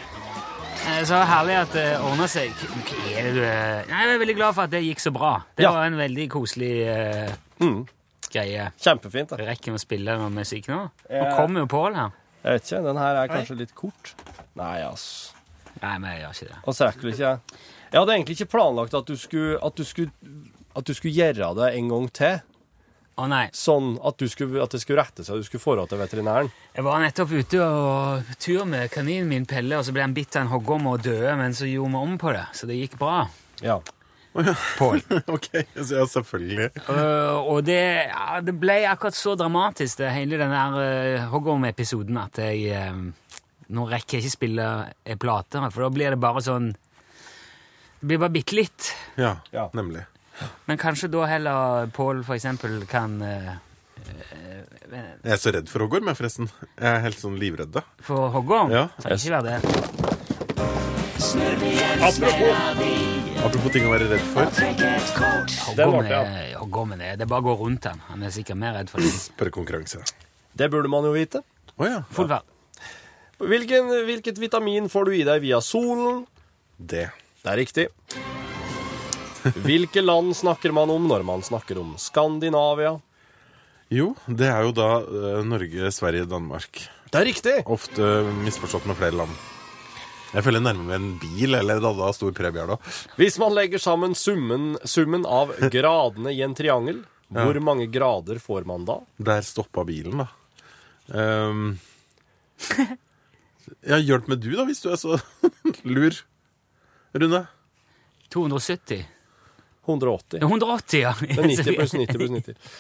Speaker 3: Eh, Så herlig at det ordna seg. Hva er det du er? Nei, Jeg er veldig glad for at det gikk så bra. Det
Speaker 2: Ja.
Speaker 3: var en veldig koselig eh,
Speaker 2: Mm.
Speaker 3: greie.
Speaker 2: Kjempefint. det.
Speaker 3: Rekker vi å spille noe musikk nå? Nå
Speaker 2: Eh.
Speaker 3: kommer jo Pål her.
Speaker 2: Jeg vet ikke, den her er kanskje litt kort. Nei, ass.
Speaker 3: Nei, men jeg gjør ikke det.
Speaker 2: Og så rekker du ikke jeg. Jeg hadde egentlig ikke planlagt at du skulle At du skulle, at du skulle gjøre det en gang til.
Speaker 3: Å nei.
Speaker 2: Sånn at, du skulle, at det skulle rette seg, du skulle få råd til veterinæren.
Speaker 3: Jeg var nettopp ute og på tur med kaninen min Pelle, og så ble han bitt av en hoggorm og døde, men så gjorde vi om på det, så det gikk bra.
Speaker 2: Ja.
Speaker 3: Pål.
Speaker 9: Ok, så ja, selvfølgelig.
Speaker 3: Øh, og det, ja, det ble akkurat så dramatisk, det, hele den der uh, hoggorm-episoden, at jeg eh, Nå rekker jeg ikke spille ei plate, for da blir det bare sånn Det blir bare bitte litt.
Speaker 9: Ja,
Speaker 2: Ja.
Speaker 9: nemlig.
Speaker 3: Men kanskje da heller Pål, for eksempel, kan eh,
Speaker 9: Jeg er så redd for hoggorm, jeg, forresten. Jeg er helt sånn livredd, da.
Speaker 3: få hoggorm.
Speaker 9: Ja.
Speaker 3: Trenger ikke være det.
Speaker 9: Apropos ting å være redd for.
Speaker 2: Den
Speaker 3: Hoggorm
Speaker 2: ble
Speaker 3: er,
Speaker 2: jeg.
Speaker 3: hoggormen er Det er bare å gå rundt den. Han er sikkert mer redd for det.
Speaker 9: Spørrekonkurranse.
Speaker 2: Det burde man jo vite.
Speaker 9: Å ja.
Speaker 3: Full fart.
Speaker 2: Hvilken, hvilket vitamin får du i deg via solen?
Speaker 9: Det.
Speaker 2: Det er riktig. Hvilke land snakker man om når man snakker om Skandinavia?
Speaker 9: Jo, det er jo da eh, Norge, Sverige, Danmark.
Speaker 2: Det er riktig!
Speaker 9: Ofte misforstått med flere land. Jeg føler jeg nærmer meg en bil eller en annen stor premie her, da.
Speaker 2: Hvis man legger sammen summen, summen av gradene i en triangel, hvor mange grader får man da?
Speaker 9: Der stoppa bilen, da. Ehm. ja, hjelp meg du, da, hvis du er så lur. Rune?
Speaker 3: 270.
Speaker 2: 180.
Speaker 3: Ja, 180, ja.
Speaker 2: Men 90 pluss 90 pluss 90.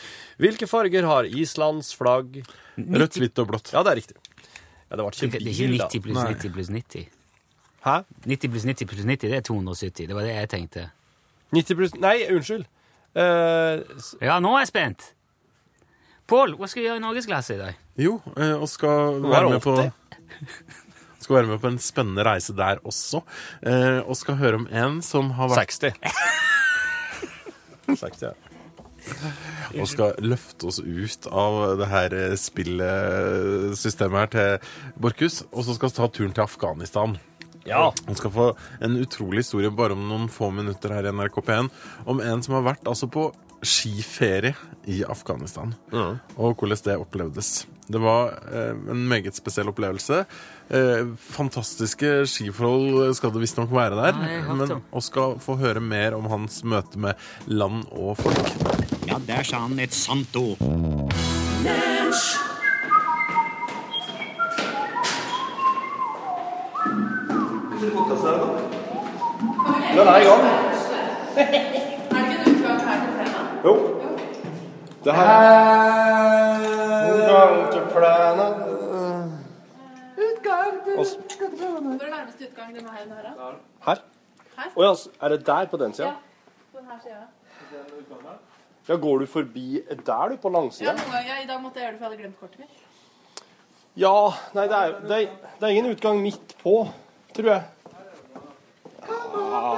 Speaker 2: Hvilke farger har Islands flagg?
Speaker 9: Rødt, hvitt og blått.
Speaker 2: Ja, det er riktig. Ja, det var
Speaker 3: Det
Speaker 2: ikke
Speaker 3: er ikke
Speaker 2: bil,
Speaker 3: 90
Speaker 2: da.
Speaker 3: pluss
Speaker 9: Nei.
Speaker 3: 90 pluss 90.
Speaker 2: Hæ?
Speaker 3: 90 pluss 90 pluss 90, det er 270. Det var det jeg tenkte.
Speaker 2: 90 pluss Nei, unnskyld. Eh, s-
Speaker 3: Ja, nå er jeg spent! Pål, hva skal vi gjøre i norgesklasse i dag?
Speaker 9: Jo, eh, og skal
Speaker 2: er
Speaker 9: være med på
Speaker 2: 80.
Speaker 9: skal være med på en spennende reise der også. Eh, og skal høre om en som har vært
Speaker 2: 60.
Speaker 9: 60, ja. Og skal løfte oss ut av det her eh, spillsystemet her til Borchhus. Og så skal vi ta turen til Afghanistan.
Speaker 2: Ja.
Speaker 9: Han skal få en utrolig historie bare om noen få minutter her i NRK P1 om en som har vært altså på skiferie i Afghanistan, og hvordan det opplevdes. Det var eh, en meget spesiell opplevelse. Eh, fantastiske skiforhold skal det visstnok være der.
Speaker 3: Ja, jeg har hørt
Speaker 9: men
Speaker 3: om.
Speaker 9: vi skal få høre mer om hans møte med land og folk.
Speaker 10: Ja, der sa han et sant ord.
Speaker 2: Den er i gang. Jo. Det her Utgang til planet. Utgang til
Speaker 4: Hvor er nærmeste utgang denne veien her? da?
Speaker 2: Her. Å ja, s- er det der på den sida?
Speaker 4: På denne siden.
Speaker 2: Ja, går du forbi der, du, på
Speaker 4: Ja,
Speaker 2: langsida?
Speaker 4: noen ganger, ja, I dag måtte jeg gjøre det, for jeg hadde glemt kortet mitt.
Speaker 2: Ja, nei, det er, det, er, det er ingen utgang midt på, tror jeg. Ja.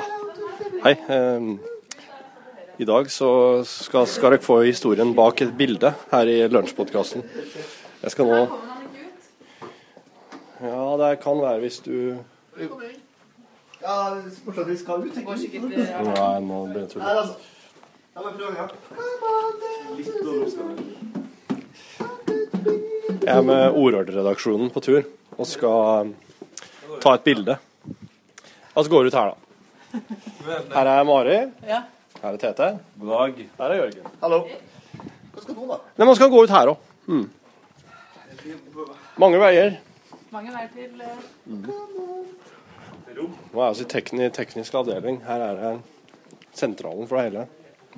Speaker 2: Hei. ehm, I dag så skal, skal dere få historien bak et bilde her i lunsjpodkasten. Jeg skal nå Ja, det kan være hvis du Nei, altså. nå begynner jeg å tulle. Jeg er med Ordreredaksjonen på tur og skal um, ta et bilde. Altså går ut her, da. Her er Mari. Her er Tete. God dag. Her er Jørgen. Hallo. Nei, Man skal gå ut her òg. Mm. Mange veier.
Speaker 4: Mange veier til eh,
Speaker 2: Nå er jeg altså i tekni, teknisk avdeling. Her er det sentralen for det hele.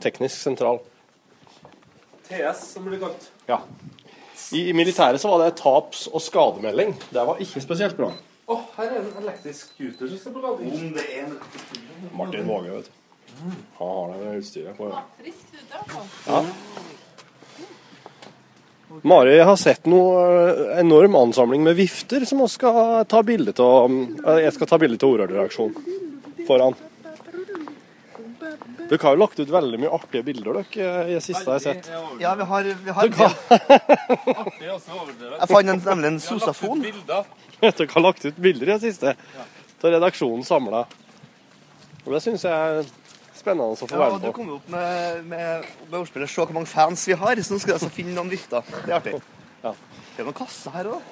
Speaker 2: Teknisk sentral.
Speaker 6: TS, som blir kalt.
Speaker 2: Ja. I, i militæret så var det taps- og skademelding. Det var ikke spesielt bra.
Speaker 6: Å, her er en elektrisk scooter som står på lading. Om det er en
Speaker 2: Martin Våge, vet du. Han har det utstyret på.
Speaker 4: friskt ute. altså.
Speaker 2: Mari har sett noe eh, enorm ansamling med vifter som vi skal ta bilde av. eh, Jeg skal ta bilde av ordrereaksjonen foran. Dere har jo lagt ut veldig mye artige bilder dere, eh, i det siste jeg har sett.
Speaker 10: Ja, vi har, vi har
Speaker 6: Det er også overdrevet.
Speaker 10: Jeg fant en, nemlig en sosafon.
Speaker 6: Bilder.
Speaker 2: Dere har lagt ut bilder i det siste av redaksjonen samla. Og det syns jeg er spennende å få
Speaker 10: Ja, og
Speaker 2: være
Speaker 10: du
Speaker 2: med på.
Speaker 10: kom jo opp med, med, med ordspillet 'Se hvor mange fans vi har', så nå skal jeg altså finne noen vifter. Det er artig.
Speaker 2: Ja.
Speaker 10: Det er noen kasser her òg.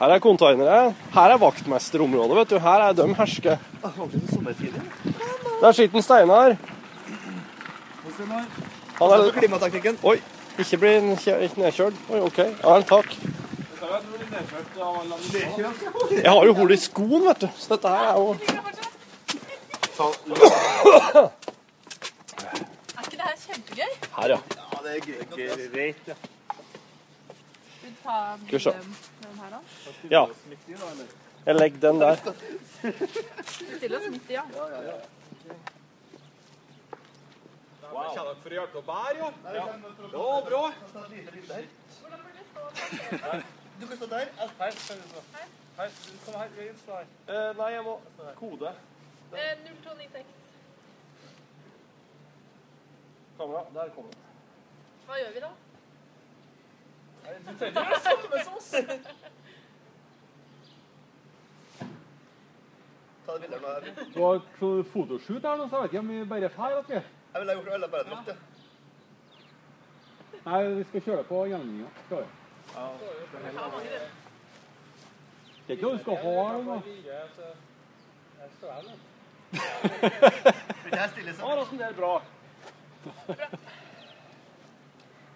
Speaker 2: Her er containere. Her er vaktmesterområdet, vet du. Her er de hersker.
Speaker 10: Ordentlig som sommertider.
Speaker 2: Der sitter en Steinar. Han
Speaker 10: Og så
Speaker 2: er
Speaker 10: klimateknikken.
Speaker 2: Oi, ikke bli n- kjø- ikke nedkjørt. Oi, OK. Ja, en takk. Jeg har jo hull i skoen, vet du. Så dette her er jo
Speaker 4: Er ikke det her kjempegøy?
Speaker 2: Her, ja.
Speaker 10: Ja, det er greit. ja.
Speaker 4: Vil du ta
Speaker 2: Skal vi se.
Speaker 4: den, den her, da?
Speaker 2: ja. Jeg legger den der.
Speaker 4: Stille oss midt i, ja.
Speaker 10: Du kan stå der. Jeg-
Speaker 2: Nei, jeg må Kode.
Speaker 4: Eh, 0296.
Speaker 2: Kamera. Der kommer den.
Speaker 4: Hva gjør vi da?
Speaker 10: Ta det bildet nå. Jeg vil-
Speaker 6: Du har fotoshoot her nå, så jeg vet ikke om vi bare fær at vi.
Speaker 10: jeg ville ha gjort alle bare dratt, ja.
Speaker 6: Nei, vi skal kjøre på gjenvinninga. Skal vi. Det er ikke noe du skal ha eller noe.
Speaker 10: Vil det her stille seg?
Speaker 2: Karlsen, det er bra.
Speaker 10: Ja,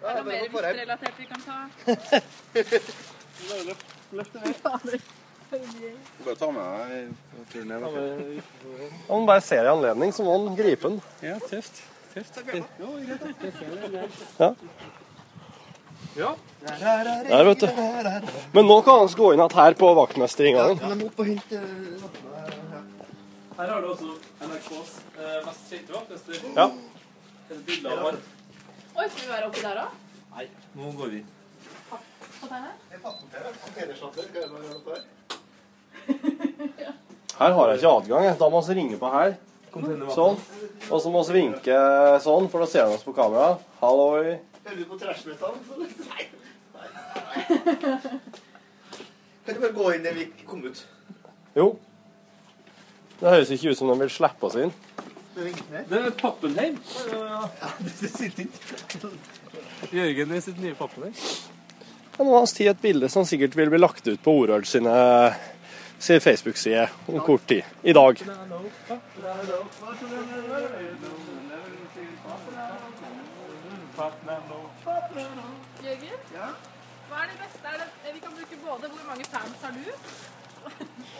Speaker 4: Er
Speaker 10: bare
Speaker 4: det mer
Speaker 10: på forhjem.
Speaker 4: vifterelatert vi kan ta?
Speaker 2: Om han bare ser en anledning, så må han gripe den. Ja, tøft. Ja. Der, vet du. Men nå kan han gå inn igjen her på vaktmesterinngangen.
Speaker 10: Men jeg må opp og hente eh, vattnet her, ja.
Speaker 6: Her har du også NRKs eh, mest kjente vaktmester.
Speaker 2: Ja.
Speaker 6: Et bilde av han.
Speaker 4: Oi, skal vi være oppi der òg?
Speaker 10: Nei, nå går vi.
Speaker 2: Her har jeg ikke adgang. jeg. Da må vi ringe på her. Sånn. Og så må vi vinke sånn, for da ser de oss på kamera. Halloi.
Speaker 10: Hører du på trashmetal? Nei. Kan du bare gå inn der vi kom ut?
Speaker 2: Jo. Det høres ikke ut som de vil slippe oss inn.
Speaker 11: Det er Pappenheim. Ja, det sitter ikke. Jørgen i sitt nye Pappenheim.
Speaker 2: Men nå har vi tatt et bilde som sikkert vil bli lagt ut på Orød sine, sin Facebook-side om kort tid. I dag.
Speaker 4: Jørgen? Hva er det beste? Er det, eh, vi kan bruke både hvor mange fans har du,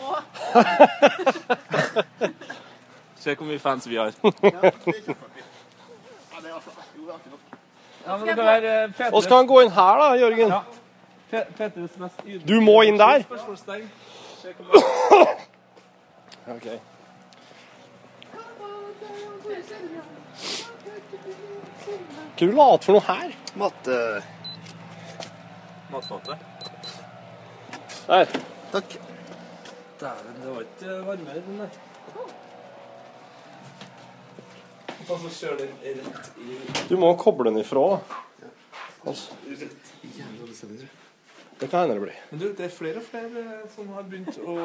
Speaker 4: og
Speaker 11: Se hvor mye fans vi har.
Speaker 10: Ja, det er altså Jo, det er artig nok.
Speaker 11: Ja, men det kan være eh, Petrus.
Speaker 2: Og så kan han gå inn her, da, Jørgen.
Speaker 11: Ja. Pe- Petrus mest ydmyke-
Speaker 2: Du må inn der.
Speaker 11: Spørsmålstegn. Se hvor mange-
Speaker 2: Ok. Hva du later for noe her?
Speaker 10: Matte...
Speaker 11: eh, Matfatet.
Speaker 2: Der.
Speaker 10: Takk.
Speaker 11: Dæven, det var ikke varmere enn det. Og så kjører den rett i
Speaker 2: Du må koble den ifra. da. Altså, det kan hende det blir.
Speaker 11: Men du, det er flere og flere som har begynt å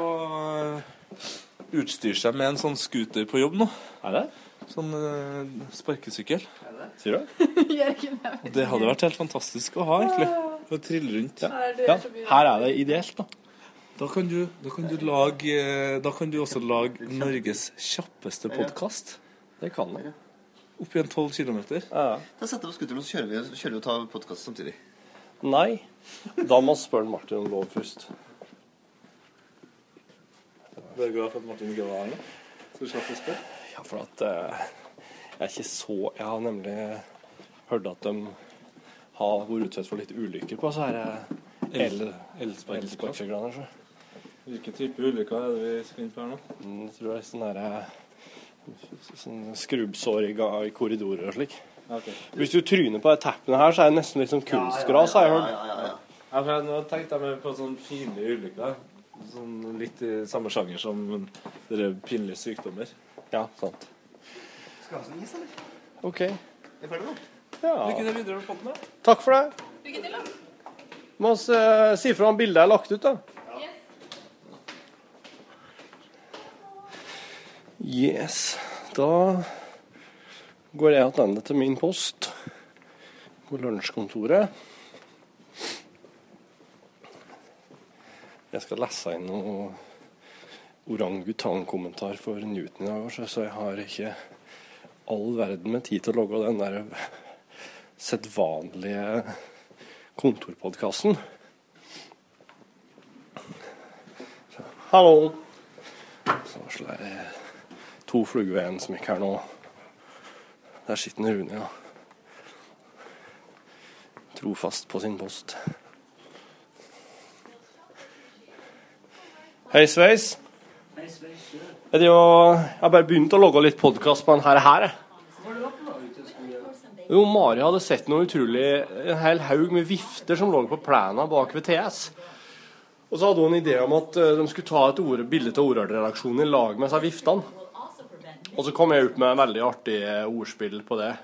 Speaker 11: utstyre seg med en sånn scooter på jobb nå.
Speaker 2: Er det?
Speaker 11: Sånn eh, sparkesykkel.
Speaker 2: Sier du?
Speaker 4: Jørgen. jeg
Speaker 11: Og
Speaker 4: vet
Speaker 11: det
Speaker 4: ikke.
Speaker 11: hadde vært helt fantastisk å ha, egentlig. Å trille rundt.
Speaker 4: Her er Ah. det Ja, så mye. her er
Speaker 2: det ideelt,
Speaker 11: da. Da kan du, da kan du lage eh, Da kan du også lage Norges kjappeste podkast.
Speaker 2: Det kan du.
Speaker 11: Opp igjen 12 kilometer.
Speaker 10: Da setter vi oss skutteren, og så kjører vi, så kjører vi og tar podkast samtidig.
Speaker 2: Nei. Da må vi spørre Martin om lov først.
Speaker 11: Det er glad for at Martin ikke var her nå. Så du slapp å spørre.
Speaker 2: Ja, for at eh, jeg er ikke så Jeg har nemlig hørt at de har vært utsatt for litt ulykker på så her eh, el- elsparkesyklene. så.
Speaker 11: Hvilke type ulykker er det vi skal inn på her nå?
Speaker 2: Mm, Jeg tror det er sånn derre sånn skrubbsår i, ga- i korridorer og slik. Hvis du tryner på de teppene her, så er det nesten litt som kunstgras, har jeg hørt.
Speaker 11: Ja, for jeg, nå tenkte jeg meg på sånn pinlige ulykker. Sånn litt i samme sjanger som dere pinlige sykdommer.
Speaker 2: Ja, sant.
Speaker 10: Skal vi ha sånn is, eller?
Speaker 2: OK.
Speaker 10: Er vi ferdige nå?
Speaker 11: Lykke til
Speaker 2: Ja.
Speaker 11: videre med podden, da.
Speaker 2: Takk for det.
Speaker 4: Lykke til, da.
Speaker 2: Må oss eh, si fra om bildet er lagt ut, da. Yes. Da går jeg tilbake til min post på lunsjkontoret. Jeg skal lese inn noe orangutang-kommentar for Newton i dag, altså, så jeg har ikke all verden med tid til å logge den der sedvanlige kontorpodkasten. Hallo! Så slår jeg to fluger ved en smekk her nå. Der sitter den Rune, ja. Trofast på sin post. Hei, sveis. Jeg driver og- jeg har bare begynt å logge litt podkast på den her. her jeg. Jo, Mari hadde sett noe utrolig En hel haug med vifter som lå på plena bak ved TS. Og så hadde hun en idé om at eh, de skulle ta et ord, bilde av Orard-redaksjonen i lag med seg viftene. Og så kom jeg ut med en veldig artig eh, ordspill på det.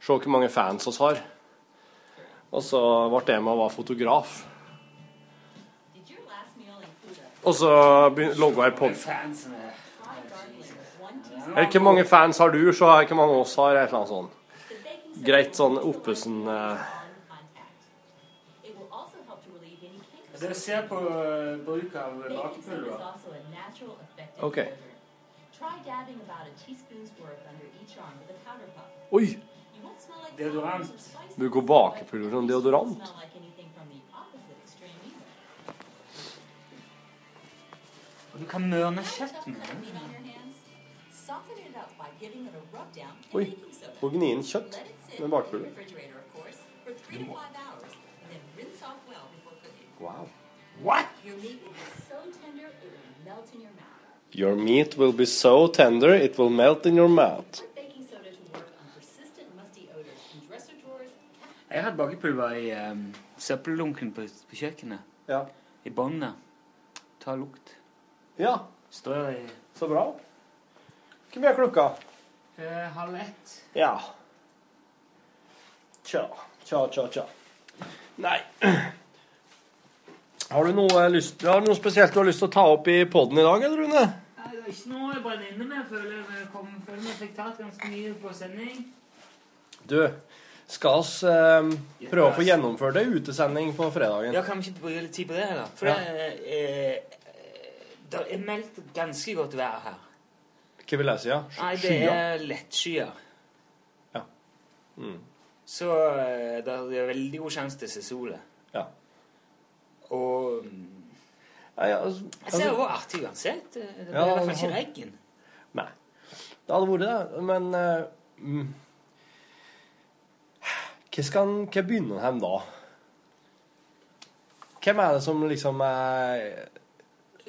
Speaker 2: Se hvor mange fans oss har. Og så ble det med å være fotograf. Og så logga jeg på Eller hvor mange fans har du, så har jeg hvor mange oss har, et eller annet sånt. Greit sånn Oppesen eh.
Speaker 12: Dere ser på eh, bruk av bakepulver.
Speaker 2: OK. Oi!
Speaker 12: Deodorant.
Speaker 2: Bruker bakepulver som deodorant.
Speaker 3: Og du kan mørne kjøtt med den.
Speaker 2: Oi. Må gni inn kjøtt med bakepulver. Wow.
Speaker 12: What?
Speaker 2: Your meat will be so tender it will melt in your mouth.
Speaker 12: Jeg
Speaker 3: Jeg hadde bakepulver i um, søppeldunken på, på kjøkkenet.
Speaker 2: Ja.
Speaker 3: I båndet. Ta lukt.
Speaker 2: Ja.
Speaker 3: Strør i
Speaker 2: Så bra. Hvor mye er klokka?
Speaker 3: Eh, Halv ett.
Speaker 2: Ja. Tja, tja, tja, tja. Nei. Har du noe, lyst, har du noe spesielt du har lyst til å ta opp i poden i dag, eller, Rune?
Speaker 3: Nei, det er ikke noe jeg brenner inne med. Føler jeg men jeg kom, føler meg fikk tatt ganske mye på sending.
Speaker 2: Du, skal oss eh, prøve å få gjennomført ei utesending på fredagen?
Speaker 3: Ja, Kan vi ikke bruke litt tid på det heller? For
Speaker 2: Ja.
Speaker 3: det, er, eh, det er meldt ganske godt vær her.
Speaker 2: Hva vil jeg si? Ja?
Speaker 3: Nei, det er lettskyer.
Speaker 2: Ja. Mm.
Speaker 3: Så eh, det er veldig god sjanse til å se sola.
Speaker 2: Ja.
Speaker 3: Og mm,
Speaker 2: Nei, altså,
Speaker 3: Jeg ser det var artig uansett. Eh, Det blir
Speaker 2: Ja, altså-
Speaker 3: i hvert fall ikke
Speaker 2: han-
Speaker 3: regn.
Speaker 2: Nei. Det hadde vært det, men eh, mm. Hva skal en Hva begynner en hen da? Hvem er det som liksom er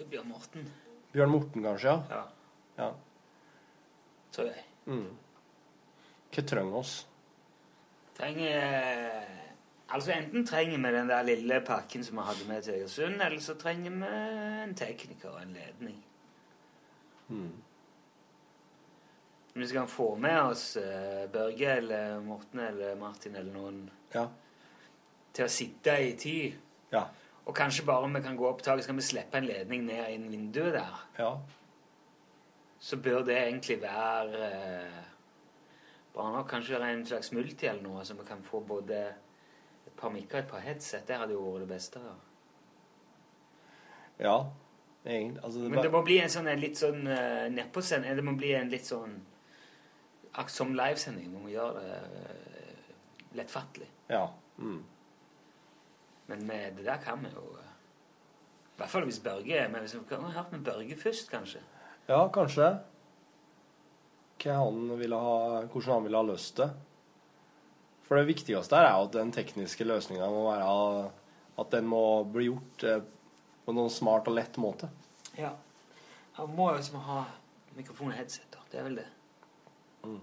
Speaker 3: Bjørn Morten,
Speaker 2: Bjørn Morten, kanskje?
Speaker 3: Ja.
Speaker 2: ja.
Speaker 3: tror jeg.
Speaker 2: Mm. Hva trenger oss?
Speaker 3: Trenger eh, Altså Enten trenger vi den der lille pakken som vi hadde med til Egersund, eller så trenger vi en tekniker og en ledning.
Speaker 2: Mm.
Speaker 3: Om vi skal få med oss eh, Børge eller Morten eller Martin eller noen
Speaker 2: Ja.
Speaker 3: til å sitte i ti.
Speaker 2: Ja.
Speaker 3: Og kanskje bare om vi kan gå opp taket, så kan vi slippe en ledning ned innen vinduet der.
Speaker 2: Ja.
Speaker 3: Så bør det egentlig være eh, bare nok kanskje være en slags multi eller noe, så vi kan få både et par mikker og et par headset. Det hadde jo vært det beste. da.
Speaker 2: Ja. Egentlig. Altså,
Speaker 3: Men det må bli en sånn en litt sånn uh, nedpåsending. Det må bli en litt sånn ak- som livesending. Vi må gjøre det eh, lettfattelig.
Speaker 2: Ja. Mm.
Speaker 3: Men med det der kan vi jo eh, I hvert fall hvis Børge er med. Hvis vi kan ha hørt med Børge først, kanskje.
Speaker 2: ja, kanskje. Hva han ville ha, hvordan han ville ha løst det. For det viktigste her er jo at den tekniske løsninga må være at den må bli gjort eh, på noen smart og lett måte.
Speaker 3: Ja. Han må jo liksom ha mikrofon og headset. da. Det er vel det.
Speaker 2: Mm.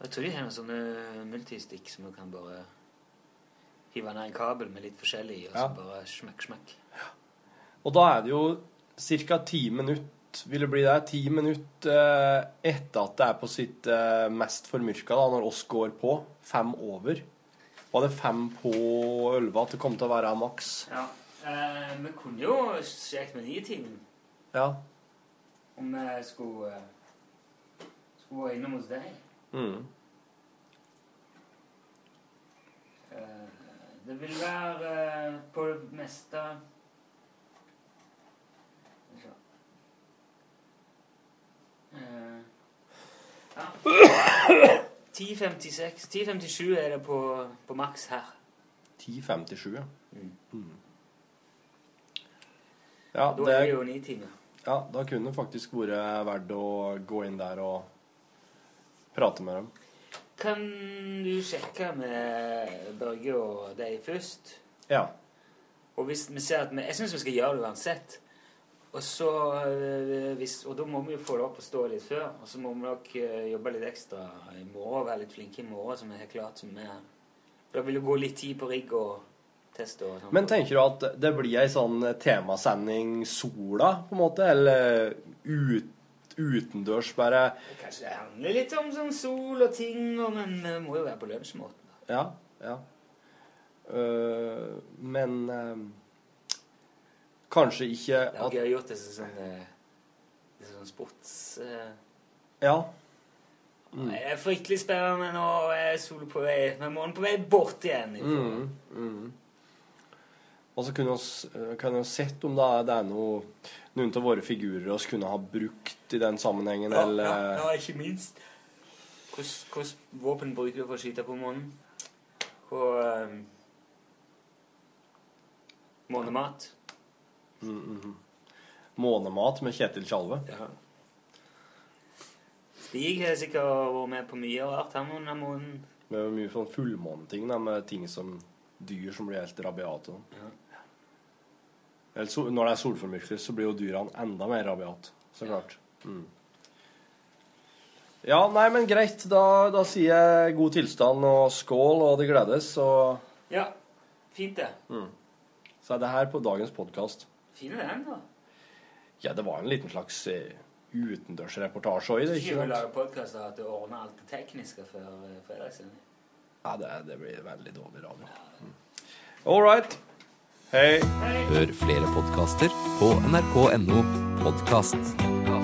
Speaker 3: Jeg tror de har noen sånne multistikk som du kan bare hive ned en kabel med litt forskjellig i, og så
Speaker 2: Ja.
Speaker 3: bare smekk, smekk.
Speaker 2: Og da er det jo ca. ti minutter vil det bli der, ti minutter eh, etter at det er på sitt eh, mest formørka, da, når oss går på. Fem over. Var det fem på elleve at det kom til å være maks?
Speaker 3: Ja. Eh, vi kunne jo sjekket med Nitimen
Speaker 2: Ja.
Speaker 3: om vi skulle, eh, skulle være innom hos deg.
Speaker 2: Mm.
Speaker 3: Eh, det vil være eh, på det meste Skal vi se. Eh, ja. 10.56 10.57 er det på, på maks her.
Speaker 2: 10.57, ja. Mm. Ja,
Speaker 3: Da er det jo ni timer.
Speaker 2: Ja, da kunne det faktisk vært verdt å gå inn der og prate med dem.
Speaker 3: Kan du sjekke med Børge og deg først?
Speaker 2: Ja.
Speaker 3: Og hvis vi ser at vi, Jeg syns vi skal gjøre det uansett. Og så, øh, hvis, og da må vi jo få det opp og stå litt før. Og så må vi nok øh, jobbe litt ekstra i morgen, være litt flinke i morgen, så vi har klart som vi er. Da vil det gå litt tid på rigg og test og sånn.
Speaker 2: Men tenker du at det blir ei sånn temasending sola, på en måte? Eller ut, utendørs, bare?
Speaker 3: Kanskje det handler litt om sånn sol og ting, og, men vi må jo være på lunsjmåten.
Speaker 2: Ja. ja. Øh, men øh, kanskje ikke
Speaker 3: Det har
Speaker 2: at
Speaker 3: jeg gjort det som sånn, øh, det som sånn sports... øh,
Speaker 2: Ja. Mm.
Speaker 3: Det er fryktelig spennende nå. Er solen på vei Men månen på vei bort igjen.
Speaker 2: Mm, mm. Og så kunne oss, eh, kan vi jo sett om da, det er noe, noen av våre figurer oss kunne ha brukt i den sammenhengen,
Speaker 3: Ja,
Speaker 2: eller
Speaker 3: ja, ja, ikke minst. Hvilket våpen bruker du for å skyte på månen? Hvor um, Månemat?
Speaker 2: Mm, mm, mm. Månemat med Kjetil Tjalve.
Speaker 3: Stig har sikkert vært med på mye rart her under månen.
Speaker 2: Med mye sånn fullmåneting, da, med ting som dyr som blir helt rabiate. da. Eller so når det er solformørkelse, så blir jo dyrene enda mer rabiate. Så klart. Mm. Ja, nei, men greit. Da, da sier jeg god tilstand og skål, og det gledes, og
Speaker 3: Ja, fint det.
Speaker 2: mm. Så er det her på dagens podkast.
Speaker 3: Fin den, da.
Speaker 2: Ja, det var en liten slags eh, utendørsreportasje òg i det,
Speaker 3: Ikke
Speaker 2: ikke
Speaker 3: vil lage
Speaker 2: sant?
Speaker 3: podkaster at du ordner alt det tekniske før eh, fredagssending.
Speaker 2: Nei, det, det blir veldig dårlig radio. Mm. All right. Hei.
Speaker 13: Hør flere podkaster på nrk.no podkast.